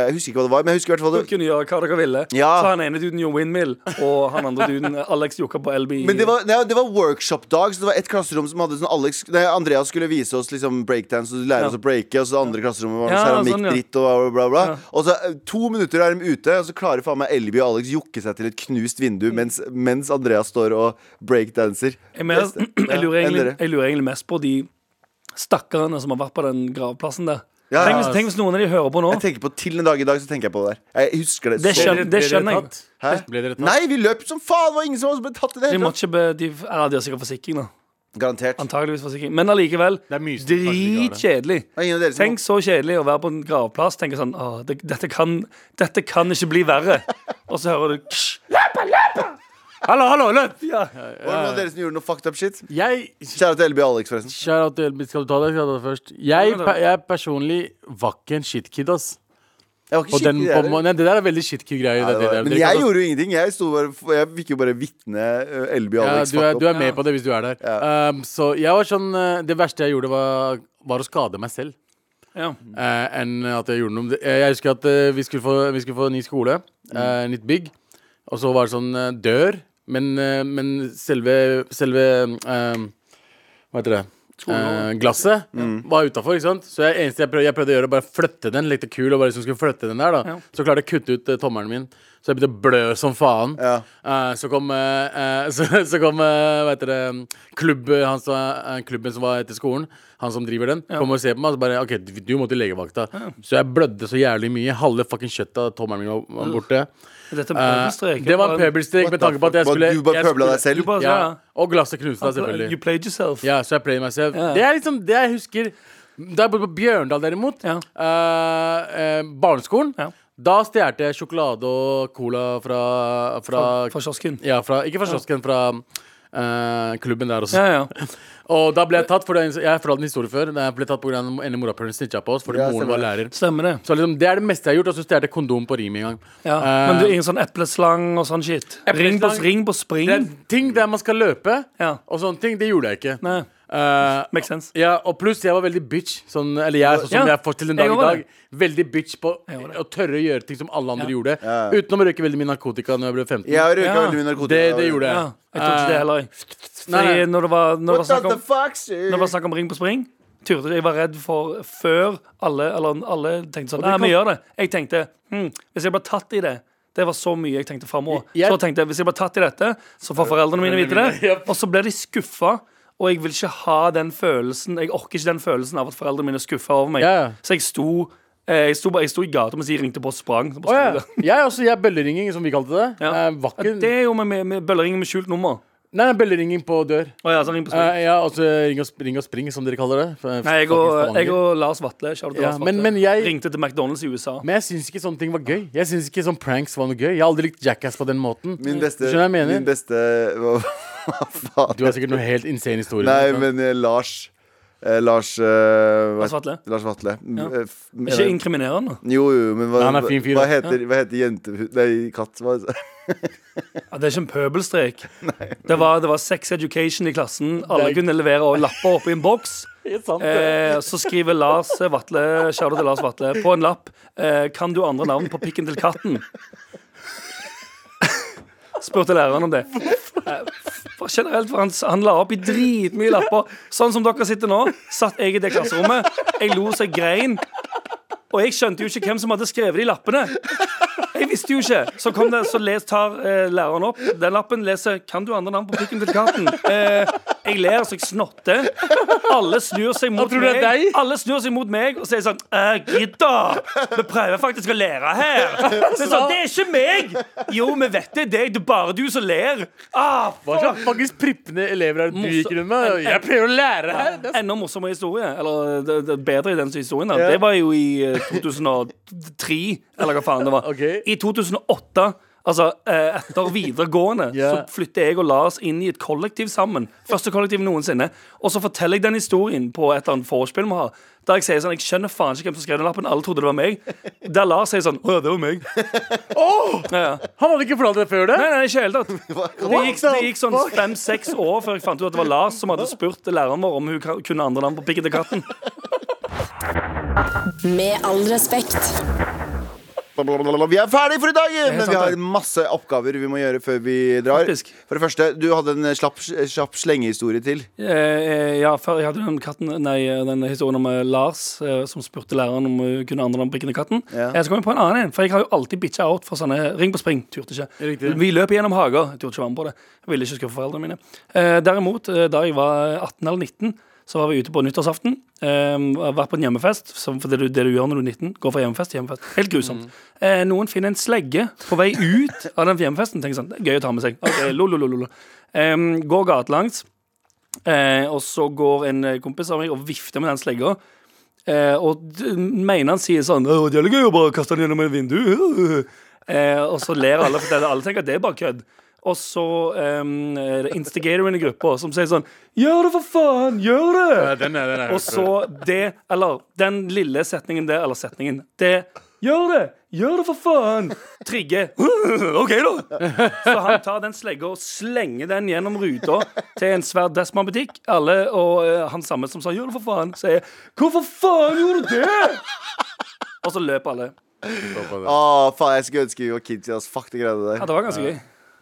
B: Jeg husker ikke hva det var, men jeg husker i hvert fall
D: Dere
B: det
D: kunne gjøre hva dere ville.
B: Ja.
D: Så han ene duden gjorde windmill, og han andre duden Alex jokka på Elby.
B: Men det var, nei, det var workshop-dag, så det var ett klasserom som hadde sånn Alex, nei, Andreas skulle vise oss liksom breakdance og lære
D: Ja.
B: oss å breake, og så det andre klasserommet var
D: Ja,
B: noe
D: sånn, ja.
B: keramikkdritt og bla, bla, bla.
D: Ja.
B: Og så eh, to minutter er de ute, og så klarer faen meg Elby og Alex jukke seg til et knust vindu mens, mens Andreas står og breakdanser.
D: Jeg, mer,
B: Beste.
D: jeg, lurer
B: Ja, enn
D: egentlig,
B: dere.
D: jeg lurer egentlig mest på de stakkarene som har vært på den gravplassen der.
B: Ja,
D: Tenk,
B: ja.
D: hvis, tenk hvis noen av de hører på nå.
B: Jeg tenker på Til en dag i dag så tenker jeg på det der. Jeg husker det,
D: Det
B: så
D: skjønner, det skjønner jeg.
B: Hæ?
C: Ble dere tatt?
B: Nei, vi løp som faen! Det var ingen som ble tatt i det
D: De
B: hele
D: må
B: tatt.
D: ikke be, de, ja, de har sikkert forsikring, da.
B: Garantert. Det
D: Antageligvis forsikring. Men allikevel.
C: Det er mye som faktisk ikke har det.
D: Dritkjedelig.
B: var ingen av dere som
D: Tenk så kjedelig å være på en gravplass. Tenke sånn Åh, det, dette, kan, dette kan ikke bli verre. Og så hører du ksh,
C: Hallo, hallo, løp!
D: ja.
B: Var det noen av dere som gjorde noe fucked up shit?
C: Jeg
B: Kjære til Elby og Alex, forresten.
C: Kjære at Elby, skal du ta det? Skal jeg ta det først? Jeg,
D: Ja, da.
C: pe- jeg personlig var ikke en shitkid, ass.
B: Jeg var ikke
C: På den,
B: skikkelig
C: på,
B: der.
C: må- nei, det der er veldig shitkid-greier.
B: Ja, det var-
C: det- det der.
B: Men
C: Dere kan
B: jeg
C: ta-
B: gjorde jo ingenting. Jeg, sto bare, jeg fikk jo bare vitne eh, Elby og
C: ja,
B: Alex.
C: du, er,
B: fuck
C: du
B: opp.
C: er med på det hvis du er der. Um, så jeg var sånn eh, Det verste jeg gjorde, var, var å skade meg selv.
D: ja.
B: Mm.
C: eh, enn at jeg gjorde noe om det. Eh, Jeg husker at eh, vi skulle få, vi skulle få ny skole,
B: Mm.
C: eh, nytt bygg. Og så var det sånn eh, dør, men, eh, men selve, selve eh, Hva heter det? Eh, glasset
B: Mm.
C: var utafor, ikke sant. Så jeg, eneste jeg prøvde, jeg prøvde å gjøre, var å flytte den litt kul. Og bare liksom skulle flytte den der da
D: Ja.
C: Så klarte jeg å kutte ut eh, tommelen min, så jeg begynte å blø som faen.
B: Ja.
C: Eh, så kom, eh, eh, så, så kom eh, hva heter det, klubb, han som, eh, klubben som var etter skolen, han som driver den, kom og se på meg. Og så bare OK, du, du må til legevakta. Så jeg blødde så jævlig mye. Halve fucking kjøttet av tommelen min var- var borte.
D: Dette er
C: Eh,
D: pøbelstrek.
C: det var en pøbelstrek
B: What
C: med
B: the
C: tanke på at jeg
B: fuck? Altså,
C: skulle
B: Du bare
C: jeg
B: pøbla deg
C: skulle-
B: selv?
D: Du bare-
C: Ja, og glasset knuste da, selvfølgelig.
D: You played yourself.
C: Ja, så jeg played myself.
D: Ja.
C: Det er liksom det jeg husker Da jeg bodde på Bjørndal, derimot,
D: Ja.
C: eh, eh, barneskolen,
D: Ja.
C: da stjal jeg sjokolade og cola fra, fra,
D: Fra- fra kiosken.
C: Ja, fra, ikke fra kiosken, fra eh, klubben der også.
D: Ja, ja.
C: Og da ble jeg tatt, for det, jeg har fortalt en historie før. Da jeg ble tatt pga. den ene morapuleren snitcha på oss fordi
B: Ja,
C: moren
B: stemmer
C: var lærer.
D: Stemmer det.
C: Så liksom, Det er det meste jeg har gjort. Og så stjal jeg kondom på Rimi en gang.
D: Ja.
C: Eh,
D: Men du, ingen sånn epleslang og sånn shit? Ring på,
C: Epleslang-
D: ring på
C: det er
D: spring?
C: ting der man skal løpe,
D: Ja.
C: og sånne ting. Det gjorde jeg ikke.
D: Nei.
C: Eh,
D: Makes sense.
C: Ja, og pluss jeg var veldig bitch. Sånn, eller jeg, sånn som jeg er
D: Ja,
C: fortsatt til den dag
D: jeg
C: i
D: var
C: dag.
D: det.
C: Veldig bitch på
D: Jeg var det.
C: å tørre å gjøre ting som alle andre
D: Ja.
C: gjorde. Utenom å røyke veldig mye narkotika når jeg ble 15.
B: Jeg røyka
D: Ja.
B: veldig mye narkotika.
C: Det, det gjorde jeg.
D: Ja. Jeg tror ikke det
C: Eh,
D: heller. jeg.
C: Nei,
D: Fordi
C: nei.
D: når det var, når det var
B: What
D: snakk
B: the
D: om
B: fuck,
D: Når det var
B: sir?
D: snakk om Ring på spring, turte jeg var redd for før alle, eller alle tenkte sånn
C: det
D: Nei,
C: kan-
D: vi gjør det. Jeg tenkte hm, hvis jeg ble tatt i det det var så mye jeg tenkte fremover
C: Jeg-
D: Så tenkte jeg, Hvis jeg ble tatt i dette, så får foreldrene mine vite det. Og så blir de skuffa, og jeg vil ikke ha den følelsen Jeg orker ikke den følelsen av at foreldrene mine er skuffa over meg.
C: Ja, ja.
D: Så jeg sto eh, Jeg sto, bare- jeg sto i gata mens de ringte på og sprang. Så
C: Eh, Å,
D: bare sto
C: ja.
D: der.
C: Jeg også, jeg er bølleringing, som vi kalte det.
D: Ja.
C: Eh, var ikke-
D: Det er jo med, med, med bølleringing med skjult nummer.
C: Nei, nei, bølleringing på dør.
D: Å ja, så ring på spring.
C: Eh, ja, altså ring og, sp- ring og spring, som dere kaller det. Fra-
D: Nei, jeg
C: fucking
D: og,
C: Stavanger.
D: jeg og Lars Vatle, shout out til
C: Ja,
D: Lars Vatle
C: men- men jeg-
D: ringte til McDonald's i USA.
C: Men jeg syns ikke sånne ting var gøy. Jeg synes ikke sånn pranks var noe gøy Jeg har aldri likt Jackass på den måten.
B: Min beste,
C: Skjønner jeg mener?
B: min beste Hva faen?
C: Du har sikkert noe helt insane historie.
B: Nei, men eh, Lars eh, Lars eh, hva-
D: Lars Vatle.
B: Lars Vatle.
D: Ja.
B: Eh, f-
D: Ikke
B: mener-
D: inkriminerende.
B: Jo, jo, men hva,
C: Nei, han er fin fyr,
B: hva
C: da.
B: heter, hva heter jente... Nei, katt. Hva,
D: Ja, det er ikke en pøbelstrek. Det var, det var sex education i klassen. Alle kunne levere og lapper oppi en boks. Eh, så skriver Lars Vatle shout out til Lars Vatle på en lapp eh, Kan du andre navn på pikken til katten? Spurte læreren om det. Eh, for generelt, for han, han la opp i dritmye lapper. Sånn som dere sitter nå, satt jeg i det klasserommet. Jeg lo så jeg grein. Og jeg skjønte jo ikke hvem som hadde skrevet de lappene. Jeg visste jo ikke. Så, kom det, så les, tar eh, læreren opp den lappen, leser 'Kan du andre navn på pikken til katten?' Eh, jeg ler så jeg snotter. Alle snur seg mot
C: tror det
D: meg
C: er deg?
D: Alle snur seg mot meg og sier sånn «Eh, 'Gidd, da! Vi prøver faktisk å lære her.' Så jeg sånn, 'Det er ikke meg!' Jo, vi vet det. Det er du- bare du som ler. Ah,
C: Hva slags faktisk prippende elever er det du
D: Morsom-
C: gikk rundt med? Jeg prøver å lære her! Det er
D: Enda morsommere historie. Eller det, det, bedre i den historien. Da. Det var jo i eh, 2003, eller hva faen det var.
C: Ok.
D: I 2008, altså eh, etter videregående,
C: Ja.
D: så flytter jeg og Lars inn i et kollektiv sammen. Første kollektiv noensinne. Og så forteller jeg den historien på et eller annet vorspiel vi har. Der jeg sier sånn, jeg skjønner faen ikke hvem som skrev den lappen. Alle trodde det var meg. Der Lars sier sånn, å ja, det var meg. Ja, ja.
C: Han hadde ikke fortalt det før det?
D: Nei, nei, ikke i det hele tatt. Det gikk, det gikk sånn fem-seks år før jeg fant ut at det var Lars som hadde spurt læreren vår om hun ka- kunne andre navn på pikken til katten.
E: Med all respekt.
B: Blablabla. Vi er ferdige for i dag, men
D: sant,
B: vi har
D: det.
B: masse oppgaver vi må gjøre før vi drar.
D: Faktisk.
B: For det første, du hadde en slapp, slapp slengehistorie til.
D: Eh, eh, ja, før jeg hadde den katten Nei, eh, den historien om eh, Lars eh, som spurte læreren om hun kunne andre navn på pikken til katten.
B: Ja.
D: Eh, så kom jeg på en annen en, for jeg har jo alltid bitcha out for sånne ring på spring. Turte ikke.
C: Riktig.
D: Vi løp gjennom hager. Jeg turte ikke være med på det. Jeg ville ikke skuffe foreldrene mine. Eh, derimot, eh, da jeg var 18 eller 19, så var vi ute på nyttårsaften. Eh, vært på en hjemmefest, som for det, du- det du gjør når du er 19. Går fra hjemmefest til hjemmefest. Helt grusomt. Eh, noen finner en slegge på vei ut av den hjemmefesten. Tenker sånn, det er gøy å ta med seg. Ok, lo, lo, lo, lo, lo. Eh, går gatelangs. Eh, og så går en eh, kompis av meg og vifter med den slegga. Eh, og d- mener han sier sånn «Å, 'Det er litt gøy å bare kaste den gjennom et vindu'. Eh, og så ler alle, for det, alle tenker at det er bare kødd. Og så um, er det instigatoren i gruppa som sier sånn 'Gjør det, for faen! Gjør det!'
C: Den er, den er.
D: Og så det, eller den lille setningen der, eller setningen Det Gjør det! Gjør det, for faen! Trigger. OK, da. Så han tar den slegga og slenger den gjennom ruta til en svær Desman-butikk. Alle og eh, han samme som sa 'gjør det, for faen', sier 'hvorfor faen gjorde du det?' Og så løper alle.
B: Å, faen, jeg skulle ønske vi var kids. ass. Fuck de greiene der.
D: Ja, det var ganske gøy.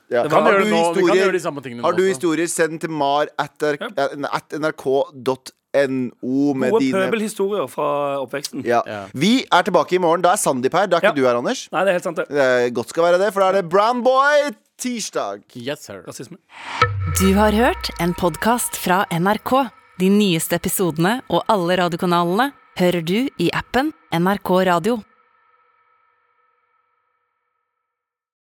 B: Ja.
D: var-
B: Har
C: gjøre
B: du
C: det nå, vi kan
B: historier-
C: gjøre de samme tingene nå
B: Har du
C: også.
B: historier, send til mar at r- at nrk.no med
D: Gode
B: dine
D: pøbelhistorier fra oppveksten.
B: ja. Vi er tilbake i morgen. Da er Sandeep her. Da er ikke
D: Ja.
B: du her, Anders.
D: Nei, det er helt sant, det.
B: Det er godt skal være det, for da er det Brown Boy tirsdag.
C: Yes, sir.
D: Rasisme.
A: Du har hørt en podcast fra NRK. De nyeste episodene og alle radiokanalene hører du i appen NRK Radio.